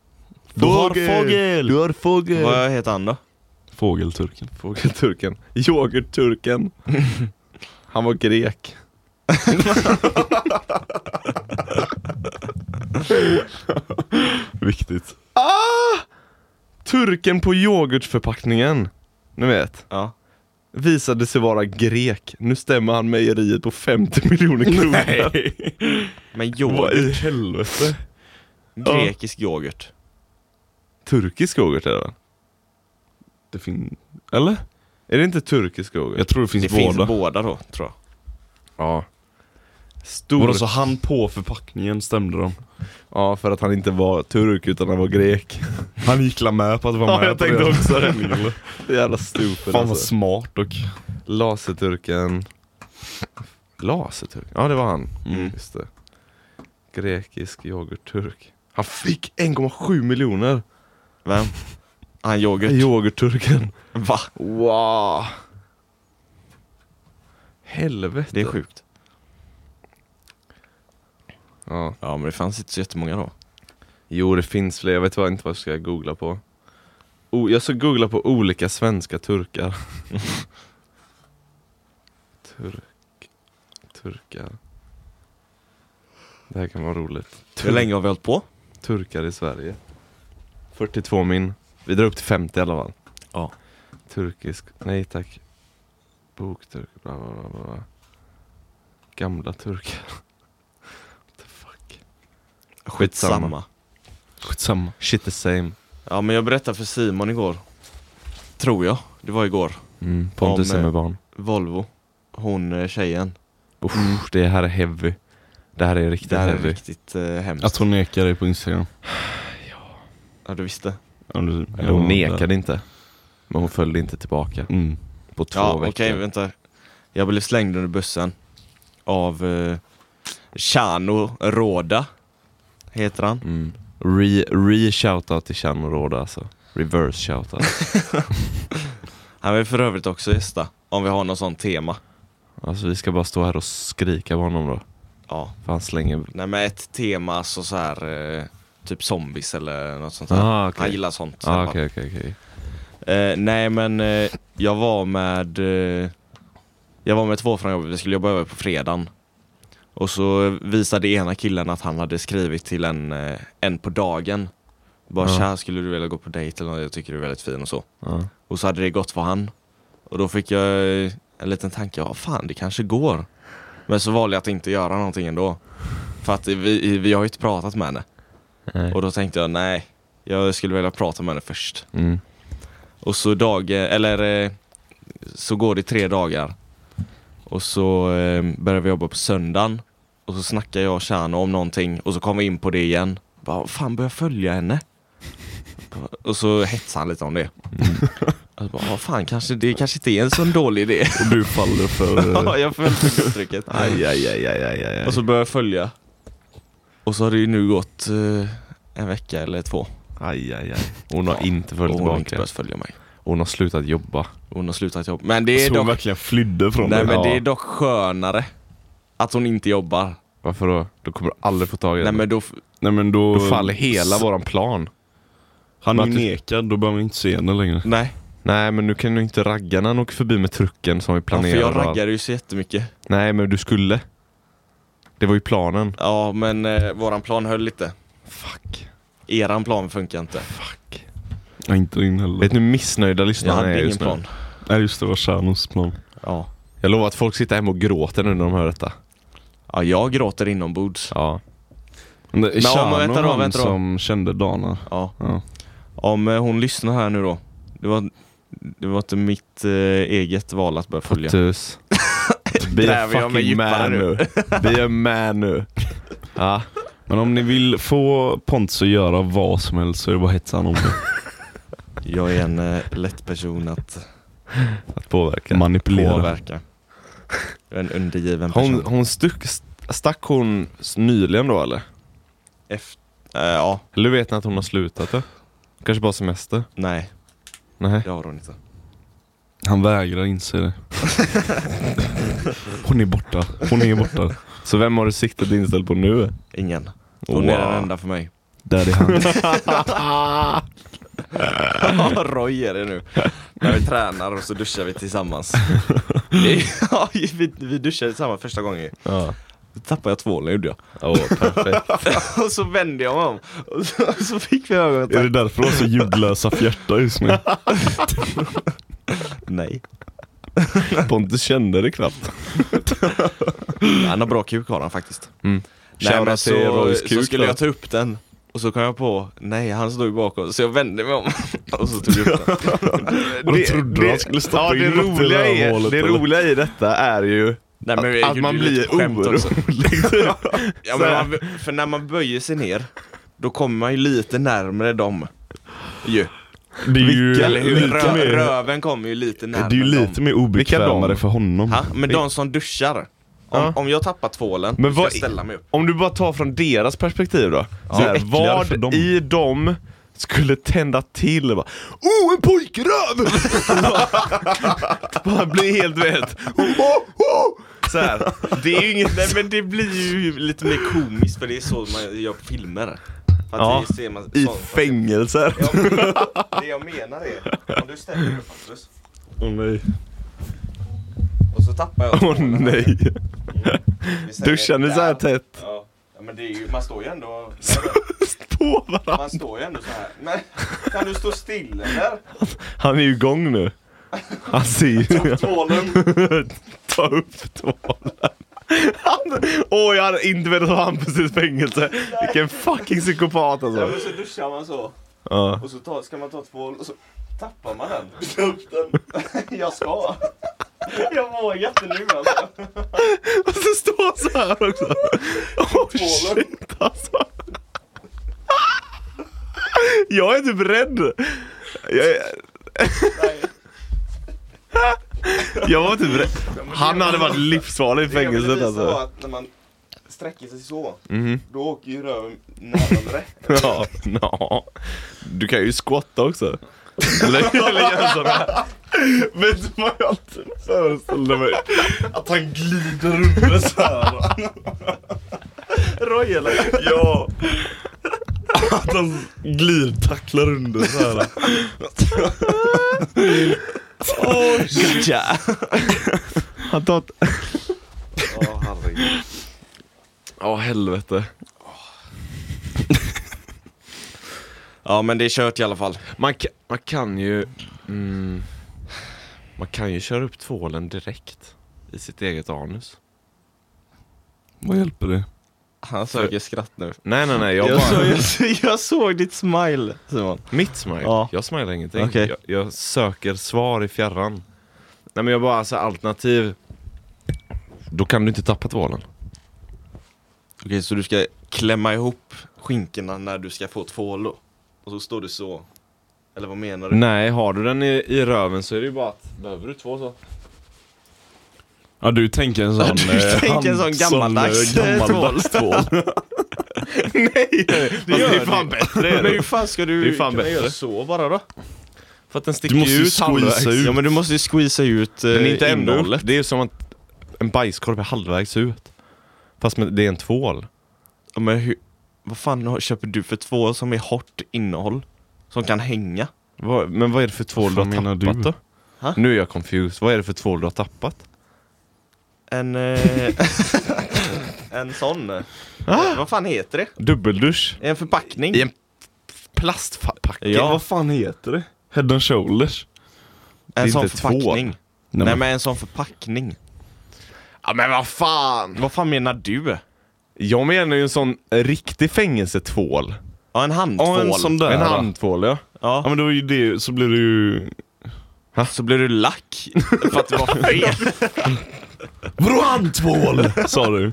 Speaker 2: Du har fågel!
Speaker 1: Du har fågel!
Speaker 3: Vad heter han då?
Speaker 2: Fågelturken.
Speaker 1: Fågelturken. Yoghurtturken. Han var grek.
Speaker 2: Viktigt.
Speaker 1: Turken på yoghurtförpackningen. Ni vet.
Speaker 3: Ja.
Speaker 1: Visade sig vara grek. Nu stämmer han mejeriet på 50 miljoner kronor.
Speaker 3: Men
Speaker 2: Vad
Speaker 3: yoghurt.
Speaker 2: i helvete?
Speaker 3: Grekisk yoghurt.
Speaker 1: Turkisk yoghurt är det va?
Speaker 2: Det fin... Eller?
Speaker 1: Är det inte turkisk yoghurt?
Speaker 2: Jag tror det finns
Speaker 3: Det
Speaker 2: båda.
Speaker 3: finns båda då, tror jag.
Speaker 1: Ja. alltså
Speaker 2: Vadå
Speaker 1: Stor...
Speaker 2: så han på förpackningen stämde de?
Speaker 1: Ja, för att han inte var turk utan han var grek.
Speaker 2: Han gick la med på att vara
Speaker 1: Ja,
Speaker 2: med
Speaker 1: jag
Speaker 2: på
Speaker 1: tänkte
Speaker 2: det.
Speaker 1: också det.
Speaker 2: Eller?
Speaker 1: Det är jävla stupid
Speaker 2: Fan vad
Speaker 1: alltså.
Speaker 2: smart dock.
Speaker 1: Laserturken. Laserturken? Ja, det var han.
Speaker 2: Mm.
Speaker 1: Just det. Grekisk yoghurtturk. Han fick 1,7 miljoner!
Speaker 3: Vem? Han yoghurt.
Speaker 1: Yoghurtturken.
Speaker 3: Va?
Speaker 1: Wow! Helvete.
Speaker 3: Det är sjukt.
Speaker 1: Ja.
Speaker 3: Ja, men det fanns inte så jättemånga då.
Speaker 1: Jo, det finns fler. Jag vet tyvärr inte vad jag ska googla på. O- jag ska googla på olika svenska turkar. Turk... Turkar. Det här kan vara roligt.
Speaker 3: Hur länge har vi hållit på?
Speaker 1: Turkar i Sverige. 42 min. Vi drar upp till 50 i alla fall.
Speaker 3: Ja.
Speaker 1: Turkisk, nej tack. Bokturk, bla bla bla. bla, bla. Gamla turkar. What the fuck.
Speaker 3: Skitsamma.
Speaker 2: Skitsamma.
Speaker 1: Shit the same.
Speaker 3: Ja, men jag berättade för Simon igår. Tror jag. Det var igår.
Speaker 1: Mm, Pontus
Speaker 3: Om, eh,
Speaker 1: är med barn.
Speaker 3: Volvo. Hon eh, tjejen.
Speaker 1: Uff, det här är heavy. Det här är riktigt
Speaker 3: Mm. Det här är
Speaker 1: heavy.
Speaker 3: riktigt eh, hemskt.
Speaker 1: Alltså,
Speaker 2: Att hon nekar dig på instagram.
Speaker 3: Ja, du visste.
Speaker 2: Om du-
Speaker 1: Eller hon
Speaker 2: Ja,
Speaker 1: nekade inte. Men hon följde inte tillbaka
Speaker 2: där. Mm.
Speaker 1: på två
Speaker 3: Ja, okej,
Speaker 1: veckor.
Speaker 3: vänta. Jag blev slängd under bussen av eh, Chano Roda, heter han.
Speaker 1: Mm. Re, re shoutout till Chan Roda alltså. Reverse shoutout.
Speaker 3: Han vill för övrigt också gästa, om vi har något sånt tema.
Speaker 1: alltså vi ska bara stå här och skrika på honom då.
Speaker 3: Ja,
Speaker 1: För han slänger...
Speaker 3: nej men ett tema, alltså så här eh, typ zombies eller något sånt där.
Speaker 1: Ah, okej.
Speaker 3: Han gillar sånt. i alla
Speaker 1: Ah,
Speaker 3: fall.
Speaker 1: okej, okej, okej.
Speaker 3: Eh, nej men eh, jag var med eh, Jag var med två från jobbet, vi skulle jobba över på fredagen. Och så visade ena killen att han hade skrivit till en, eh, en på dagen. Bara
Speaker 1: Ja.
Speaker 3: tja, skulle du vilja gå på dejt eller något? Jag tycker du är väldigt fin och så.
Speaker 1: Ja.
Speaker 3: Och så hade det gått för han. Och då fick jag eh, en liten tanke, ja fan det kanske går. Men så valde jag att inte göra någonting ändå. För att vi, vi har ju inte pratat med henne.
Speaker 1: Nej.
Speaker 3: Och då tänkte jag, nej, jag skulle vilja prata med henne först.
Speaker 1: Mm.
Speaker 3: Och så dag, eller eh, så går det tre dagar. Och så eh, börjar vi jobba på söndagen. Och så snackar jag och Tjärna om någonting och så kommer vi in på det igen. Bara, "Vad fan börjar jag följa henne? Och så hetsar han lite om det.
Speaker 2: Mm.
Speaker 3: Och så bara, vad fan, kanske, det kanske inte är en sån dålig idé.
Speaker 2: Och du faller för... eh,
Speaker 3: Ja, jag följde uttrycket.
Speaker 1: Aj, aj, aj, aj, aj, aj.
Speaker 3: Och så börjar jag följa. Och så har det ju nu gått eh, en vecka eller två.
Speaker 1: aj, aj, aj. Hon har
Speaker 3: Ja,
Speaker 1: inte följt
Speaker 3: Och hon har inte
Speaker 1: tillbaka.
Speaker 3: börjat följa mig.
Speaker 1: Hon har slutat jobba.
Speaker 3: Hon har slutat jobba. Men det är
Speaker 2: Så Alltså, hon
Speaker 3: dock
Speaker 2: verkligen flydde från
Speaker 3: Nej
Speaker 2: dig.
Speaker 3: men
Speaker 1: Ja.
Speaker 3: det är dock skönare att hon inte jobbar.
Speaker 1: Varför då? Då kommer du aldrig få tag i
Speaker 3: Nej
Speaker 1: henne.
Speaker 3: men då, f-
Speaker 2: Nej men då...
Speaker 1: Då faller hela våran plan.
Speaker 2: Han är ju
Speaker 1: Martin-
Speaker 2: nekad, då behöver man inte se henne längre.
Speaker 3: nej.
Speaker 1: Nej men nu kan ju inte ragga när han åker förbi med trucken som vi
Speaker 3: Ja, för
Speaker 1: planerade.
Speaker 3: jag
Speaker 1: och allt.
Speaker 3: raggade ju så jättemycket.
Speaker 1: Nej men du skulle. Det var ju planen.
Speaker 3: Ja, men eh, våran plan höll inte.
Speaker 1: Fuck.
Speaker 3: Eran plan funkar inte.
Speaker 1: Fuck.
Speaker 2: Ja, inte din heller.
Speaker 1: Vet ni hur missnöjda
Speaker 3: Jag
Speaker 1: lyssnarna är
Speaker 3: hade ingen
Speaker 1: just nu?
Speaker 3: plan.
Speaker 2: Nej just det, var Shanos plan.
Speaker 3: Ja.
Speaker 1: Jag lovar att folk sitter hemma och gråter nu när de hör detta.
Speaker 3: ja, jag gråter inombords.
Speaker 1: Ja.
Speaker 2: Men det är
Speaker 3: Men om-
Speaker 2: Shano
Speaker 3: vänta då,
Speaker 2: han
Speaker 3: vänta då.
Speaker 2: som kände Dana.
Speaker 3: Ja.
Speaker 2: Ja.
Speaker 3: Om eh, hon lyssnar här nu då. Det var, det var inte mitt eh, eget val att börja följa.
Speaker 1: Tus. Be a
Speaker 3: Gräver jag mig
Speaker 1: fucking
Speaker 3: djupare
Speaker 1: man nu.
Speaker 3: nu?
Speaker 1: Be a man nu. Ja.
Speaker 2: Men om ni vill få Pontus att göra vad som helst så är det bara att hetsa honom.
Speaker 3: Jag är en eh, lätt person att
Speaker 1: Att påverka.
Speaker 2: Manipulera.
Speaker 3: påverka. Jag är en undergiven person.
Speaker 1: Hon, hon stuck, stack hon s- nyligen då eller?
Speaker 3: Efter, eh, ja,
Speaker 1: Eller vet ni att hon har slutat det? Kanske bara semester?
Speaker 3: nej,
Speaker 1: Nej.
Speaker 3: det har hon inte.
Speaker 2: Han vägrar inse det. Hon är borta. Hon är borta.
Speaker 1: Så vem har du siktet inställt på nu?
Speaker 3: Ingen. Hon är den enda för mig.
Speaker 2: Där är han.
Speaker 3: Roy är det nu. När vi tränar och så duschar vi tillsammans. ja, vi, vi duschade tillsammans första gången.
Speaker 1: Ja.
Speaker 3: Då tappade jag tvålen gjorde jag.
Speaker 1: Åh, perfekt.
Speaker 3: och så vände jag mig om. Och så, och så fick vi
Speaker 2: Är
Speaker 3: ögonkontakt.
Speaker 2: det därför hon har så ljudlösa fjärtar just nu?
Speaker 3: Nej.
Speaker 1: Pontus kände det knappt.
Speaker 3: "Mm, Han har bra kuk har han faktiskt.
Speaker 1: Mm.
Speaker 3: Nej, men
Speaker 1: Shoutout till
Speaker 3: så,
Speaker 1: Roys
Speaker 3: så
Speaker 1: kuk
Speaker 3: skulle
Speaker 1: då.
Speaker 3: jag ta upp den. Och så kom jag på, nej han stod ju bakom. Så jag vände mig om och så tog jag upp den.
Speaker 2: Och då trodde han skulle stoppa
Speaker 1: ja, det
Speaker 2: in något i
Speaker 1: roliga, är,
Speaker 2: rövhålet,
Speaker 1: det
Speaker 2: eller?
Speaker 1: roliga i detta är ju
Speaker 3: Nej, men
Speaker 1: att,
Speaker 3: jag
Speaker 1: att
Speaker 3: gjorde
Speaker 1: man
Speaker 3: ju lite
Speaker 1: blir
Speaker 3: skämt också.
Speaker 1: orolig. typ.
Speaker 3: Ja, men man, för när man böjer sig ner, då kommer man ju lite närmre dem. Ju.
Speaker 2: Det är ju
Speaker 3: Eller hur?
Speaker 2: lite
Speaker 3: Rö,
Speaker 2: mer,
Speaker 3: röven kommer ju lite
Speaker 2: det
Speaker 3: närmre
Speaker 2: är ju lite
Speaker 3: dem.
Speaker 2: mer obekvämare
Speaker 1: dom?
Speaker 2: för honom.
Speaker 3: Ha? Men de som duschar. Om,
Speaker 1: Ja.
Speaker 3: om jag tappar tvålen,
Speaker 1: Men
Speaker 3: men ska
Speaker 1: vad-
Speaker 3: jag ställa mig upp.
Speaker 1: Om du bara tar från deras perspektiv då. så här,
Speaker 2: äckligare för
Speaker 1: vad
Speaker 2: dem.
Speaker 1: i dem skulle tända till och bara Oh en pojkröv! bara bli helt vet. Oh, oh, oh. Så här, det är ju inget...
Speaker 3: Nej men det blir ju lite mer komiskt för det är så man gör på filmer. För att
Speaker 1: Ja,
Speaker 3: det ser man,
Speaker 1: I
Speaker 3: sånt-
Speaker 1: fängelser.
Speaker 3: Ja, men det jag menar är, om du ställer dig upp Pontus,
Speaker 2: Åh nej.
Speaker 3: och så tappar jag
Speaker 1: Åh
Speaker 3: tvålen här.
Speaker 1: nej.
Speaker 3: Vi säger
Speaker 1: Duschar ni så här
Speaker 3: där.
Speaker 1: tätt?
Speaker 3: Ja, Ja, men det är ju, man står ju ändå...
Speaker 1: På varandra.
Speaker 3: Man står ju ändå så här. Men kan du stå still eller?
Speaker 1: Han är ju igång nu. Han ser ju.
Speaker 3: Tvålen.
Speaker 1: Ta upp tvålen. Han- Åh, jag hade inte velat ha han precis fängelse. Vilken fucking psykopat
Speaker 3: Ja,
Speaker 1: alltså.
Speaker 3: men så duschar man så.
Speaker 1: Ja.
Speaker 3: Och så tar, ska man ta tvål och så tappar man den. Ta upp den. Jag ska. Jag vågar inte nu alltså.
Speaker 1: Och så står han så här också. Åh
Speaker 3: Tvålen.
Speaker 1: shit alltså. Jag är typ rädd. Jag, är-
Speaker 3: Nej.
Speaker 1: jag var typ rädd. Han hade varit livsfarlig i
Speaker 3: Det jag ville
Speaker 1: fängelset
Speaker 3: visa var
Speaker 1: alltså.
Speaker 3: att när man sträcker sig så,
Speaker 1: Mhm.
Speaker 3: då åker ju röven närmare.
Speaker 1: Ja, ja. Du kan ju squatta också. Eller, eller göra sådana här.
Speaker 2: Vet du vad jag alltid föreställde mig? Att han glider upp så här.
Speaker 3: Roy eller?
Speaker 2: Ja. Att han glidtacklar under så här.
Speaker 3: Gotcha!
Speaker 1: Han tar ett...
Speaker 3: Åh herregud.
Speaker 1: Åh helvete.
Speaker 3: Ja men det är kört i alla fall.
Speaker 1: Man kan, man kan ju... Mm, man kan ju köra upp tvålen direkt i sitt eget anus.
Speaker 2: Vad hjälper det?
Speaker 3: Han söker skratt nu.
Speaker 1: Nej nej nej, jag
Speaker 3: Jag,
Speaker 1: bara...
Speaker 3: såg, jag, såg, jag såg ditt smile Simon.
Speaker 1: Mitt smile?
Speaker 3: Ja.
Speaker 1: Jag smilar ingenting.
Speaker 3: Okej.
Speaker 1: Jag, jag söker svar i fjärran. Nej men jag bara, alltså alternativ... Då kan du inte tappa tvålen.
Speaker 3: Okej, så du ska klämma ihop skinkorna när du ska få tvål då? Och så står du så? Eller vad menar du?
Speaker 1: Nej, har du den i, i röven så är det ju bara att... Behöver du två så?
Speaker 2: Ja du tänker en sån...
Speaker 3: Du
Speaker 2: eh,
Speaker 3: tänker en sån
Speaker 2: hand-
Speaker 3: gammaldags,
Speaker 2: sån, eh,
Speaker 3: eh,
Speaker 2: gammaldags tvål.
Speaker 1: nej! Det,
Speaker 3: gör
Speaker 1: det är
Speaker 3: det.
Speaker 1: fan bättre. är
Speaker 3: Men hur
Speaker 1: det.
Speaker 3: fan ska du
Speaker 1: Det är fan
Speaker 3: kunna
Speaker 1: bättre.
Speaker 3: göra så bara då?
Speaker 1: För att den sticker
Speaker 2: Du måste ju
Speaker 1: ut halvvägs.
Speaker 2: squeeza ut.
Speaker 3: Ja men du måste ju squeeza ut eh,
Speaker 1: Den är inte ändå
Speaker 3: innehållet.
Speaker 1: upp. Det är som att en bajskorv är halvvägs ut. Fast med, det är en tvål.
Speaker 3: Ja, men hur, vad fan har- köper du för tvål som är hårt innehåll? Som kan hänga?
Speaker 1: Vad, men vad är det för tvål du
Speaker 2: Vad
Speaker 1: har
Speaker 2: menar
Speaker 1: tappat
Speaker 2: du?
Speaker 1: då?
Speaker 3: Ha?
Speaker 1: Nu är jag confused. Vad är det för tvål du har tappat?
Speaker 3: En... Eh, en sån. eh, Vad fan heter det?
Speaker 1: Dubbeldusch?
Speaker 3: En förpackning?
Speaker 1: I en plastpacke?
Speaker 3: Ja.
Speaker 2: Vad fan heter det? Head and shoulders?
Speaker 1: det är
Speaker 3: en sån
Speaker 1: inte två.
Speaker 3: förpackning. Nej,
Speaker 2: men-
Speaker 3: men en sån förpackning.
Speaker 1: ja men vad fan!
Speaker 3: Vad fan menar du?
Speaker 1: Jag menar ju en sån riktig fängelsetvål.
Speaker 3: Ja, en handtvål.
Speaker 2: Ja, en sån där.
Speaker 1: En
Speaker 2: va?
Speaker 1: handtvål ja.
Speaker 3: Ja.
Speaker 2: Ja men det var ju det, så blir det ju...
Speaker 3: Så blir du lack för att det var fel.
Speaker 2: Vadå handtvål? Sa du.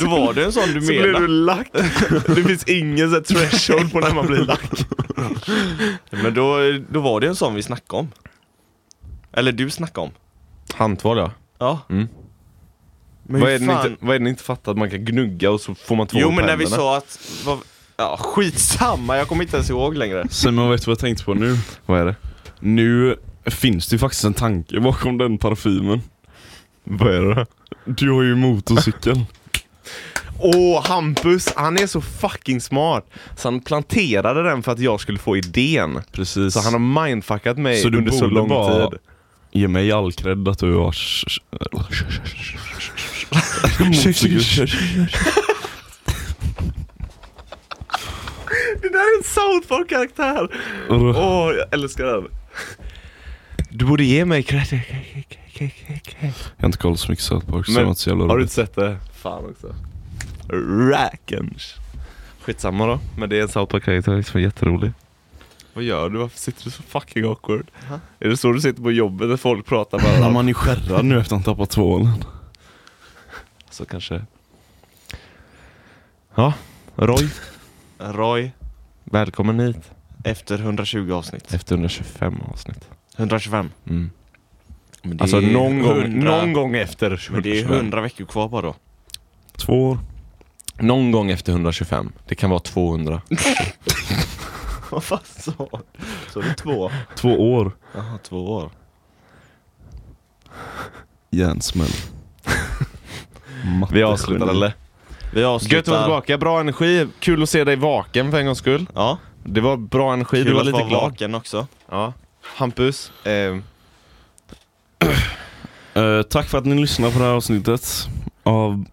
Speaker 3: Då var det en sån du
Speaker 1: Så blir
Speaker 3: menade.
Speaker 1: du lack. Det finns ingen så här threshold på när man blir lack.
Speaker 3: Men då, då var det en sån vi snackade om. Eller du snackade om.
Speaker 1: Handtvål ja.
Speaker 3: Ja.
Speaker 1: Mm.
Speaker 3: Men
Speaker 1: vad,
Speaker 3: hur
Speaker 1: är det ni
Speaker 3: fan...
Speaker 1: inte, vad är det ni inte fattar? Att man kan gnugga och så får man tvål
Speaker 3: Jo
Speaker 1: på
Speaker 3: men när vi
Speaker 1: händerna.
Speaker 3: sa att... Vad... Ja, skitsamma, jag kommer inte ens ihåg längre.
Speaker 2: Simon vet du vad jag tänkte på nu?
Speaker 1: Vad är det?
Speaker 2: Nu finns det ju faktiskt en tanke bakom den parfymen.
Speaker 1: Vad är det då?
Speaker 2: Du har ju motorcykel.
Speaker 1: Åh, Hampus! Han är så fucking smart! Så han planterade den för att jag skulle få idén.
Speaker 2: Precis.
Speaker 1: Så han har mindfuckat mig
Speaker 2: Så du
Speaker 1: under så
Speaker 2: borde
Speaker 1: lång
Speaker 2: bara-
Speaker 1: tid.
Speaker 2: Ge mig all cred att du har... motorcykel.
Speaker 1: Det där är en South Park-karaktär! Åh, jag älskar den. Du borde ge mig credit.
Speaker 2: Jag har inte kollat så mycket South Park så
Speaker 1: Men
Speaker 2: det var inte så jävla
Speaker 1: Har du
Speaker 2: roligt.
Speaker 1: inte sett det? Fan också. Rackens. Skitsamma då, men det är en South Park-karaktär som är jätterolig. Vad gör du? Varför sitter du så fucking awkward?
Speaker 3: Va?
Speaker 1: Är det så du sitter på jobbet när folk pratar med
Speaker 2: När
Speaker 1: varandra?
Speaker 2: man är skärrad nu efter att han tappat tvålen.
Speaker 1: Så kanske... Ja, Roy.
Speaker 3: Roy,
Speaker 1: Välkommen hit
Speaker 3: efter 120 avsnitt.
Speaker 1: efter 125 avsnitt.
Speaker 3: 125.
Speaker 1: Mm.
Speaker 3: Men det
Speaker 1: Alltså
Speaker 3: är
Speaker 1: någon gång,
Speaker 3: 100
Speaker 1: någon gång efter
Speaker 3: Men det är
Speaker 1: 125.
Speaker 3: 100 veckor kvar bara då.
Speaker 2: Två år.
Speaker 1: Någon gång efter 125. Det kan vara 200.
Speaker 3: Vad fan sa du? Så det två?
Speaker 2: Två år.
Speaker 3: Jaha, två år.
Speaker 2: Hjärnsmäll.
Speaker 1: Vi avslutar eller?
Speaker 3: Vi avslutar...
Speaker 1: Gött att vara tillbaka, bra energi. Kul att se dig vaken för en gångs skull.
Speaker 3: Ja,
Speaker 1: Det var bra energi,
Speaker 3: kul
Speaker 1: du var
Speaker 3: att
Speaker 1: lite
Speaker 3: vara
Speaker 1: glad.
Speaker 3: vaken också.
Speaker 1: Ja. Hampus, eh,
Speaker 2: Eh, tack för att ni lyssnar på det här avsnittet av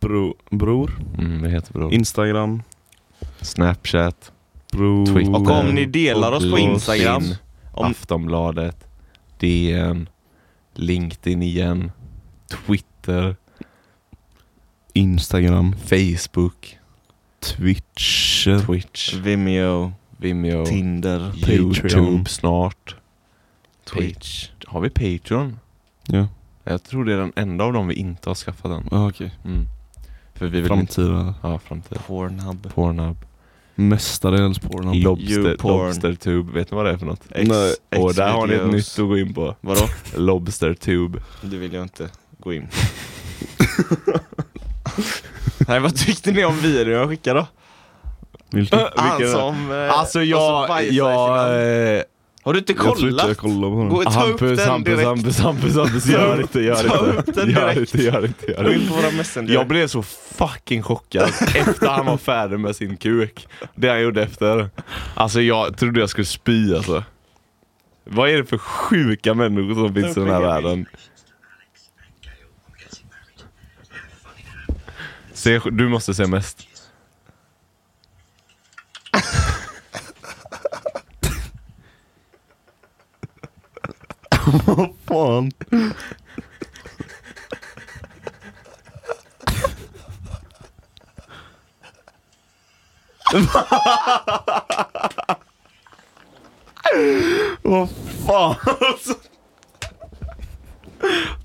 Speaker 2: bro, Bror.
Speaker 1: mm, det heter bra.
Speaker 2: Instagram.
Speaker 1: Snapchat,
Speaker 2: Bror. eh,
Speaker 1: Twitter.
Speaker 3: Och om ni delar oss på
Speaker 1: LinkedIn,
Speaker 3: Instagram. Om-
Speaker 1: Aftonbladet, DN, LinkedIn igen, Twitter,
Speaker 2: Instagram.
Speaker 1: Facebook,
Speaker 2: Twitch.
Speaker 1: Twitch,
Speaker 3: Vimeo,
Speaker 1: Vimeo,
Speaker 3: Tinder,
Speaker 1: Youtube snart.
Speaker 3: Twitch.
Speaker 1: Har vi Patreon?
Speaker 2: Ja,
Speaker 1: Jag tror det är den enda av dem vi inte har skaffat än.
Speaker 2: ah, okej.
Speaker 1: Mm. För vi vill inte...
Speaker 2: Framtida.
Speaker 1: Ja, framtid.
Speaker 3: Pornhub.
Speaker 1: Pornhub.
Speaker 2: Mestadels porrnamn.
Speaker 1: Lobster,
Speaker 3: YouPorn.
Speaker 1: lobstertube, vet ni vad det är för något?
Speaker 3: X,
Speaker 2: Nej.
Speaker 3: X
Speaker 1: Och där har ni ett
Speaker 3: videos.
Speaker 1: nytt att gå in på.
Speaker 3: Vadå?
Speaker 1: Lobstertube.
Speaker 3: Det vill jag inte gå in på. Nej, vad tyckte ni om videon jag skickade då?
Speaker 2: Vilken?
Speaker 3: Han
Speaker 1: Vilken-
Speaker 3: som... eh,
Speaker 1: Alltså
Speaker 3: och som
Speaker 1: jag,
Speaker 3: bajsar i sina-
Speaker 1: jag... eh,
Speaker 3: Har du inte
Speaker 2: Jag tror inte
Speaker 3: kollat?
Speaker 2: jag kollar på den.
Speaker 3: Gå och ta upp
Speaker 1: Hampus,
Speaker 3: den
Speaker 1: Hampus,
Speaker 3: direkt.
Speaker 1: Hampus, Hampus, Hampus, gör det inte, gör
Speaker 3: Ta
Speaker 1: det
Speaker 3: upp
Speaker 1: inte.
Speaker 3: den
Speaker 1: Gör det
Speaker 3: direkt.
Speaker 1: inte, gör det inte, gör
Speaker 3: Gå
Speaker 1: det
Speaker 3: in
Speaker 1: inte.
Speaker 3: på våra messenger.
Speaker 1: Jag blev så fucking chockad efter han var färdig med sin kuk. Det han gjorde efter. Alltså jag trodde jag skulle spy alltså. Vad är det för sjuka människor som finns i den här världen? Se, du måste se mest.
Speaker 2: Fan. Vad fan alltså.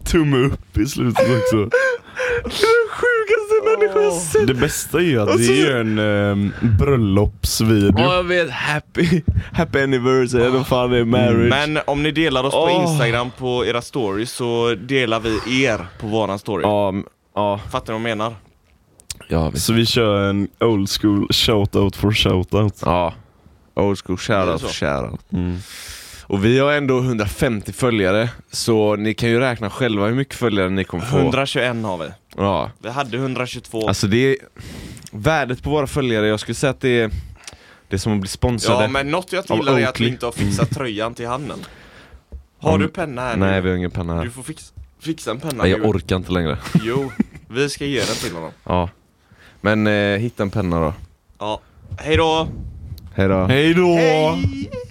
Speaker 2: Tumme upp i slutet också.
Speaker 1: Sjukaste människor jag sett!
Speaker 2: Det bästa är ju att det är ju en ehm, bröllopsvideo.
Speaker 1: Ja jag vet, happy, happy anniversary, eller vad fan det är
Speaker 2: Mm.
Speaker 1: marriage.
Speaker 3: Men om ni delar oss på
Speaker 1: Åh.
Speaker 3: Instagram på era stories så delar vi er på våran story.
Speaker 1: Ja, m- ja,
Speaker 3: Fattar ni vad jag menar?
Speaker 1: ja, visst.
Speaker 2: Så vi kör en old school shout-out for shout-out.
Speaker 1: ja. Old school
Speaker 3: Är det
Speaker 1: shoutout
Speaker 3: så?
Speaker 1: för shoutout.
Speaker 2: Mm.
Speaker 1: Och vi har ändå 150 följare, så ni kan ju räkna själva hur mycket följare ni kommer få.
Speaker 3: 121 har vi.
Speaker 1: Ja,
Speaker 3: Vi hade 122.
Speaker 1: alltså det är... Värdet på våra följare, jag skulle säga att det är, det är som att bli sponsrade.
Speaker 3: Ja men något jag inte
Speaker 1: Av
Speaker 3: gillar är att
Speaker 1: Oakley.
Speaker 3: vi inte har fixat tröjan till handen. Har
Speaker 1: Om-
Speaker 3: du penna här
Speaker 1: Nej, vi
Speaker 3: nu?
Speaker 1: har ingen penna
Speaker 3: Du
Speaker 1: här.
Speaker 3: får fix, fixa en penna
Speaker 1: Nej, jag
Speaker 3: nu.
Speaker 1: orkar inte längre.
Speaker 3: Jo, vi ska ge den till honom.
Speaker 1: Ja. Men eh, hitta en penna då.
Speaker 3: Ja. Hej då!
Speaker 1: Hej då.
Speaker 2: Hej då!
Speaker 3: Hej!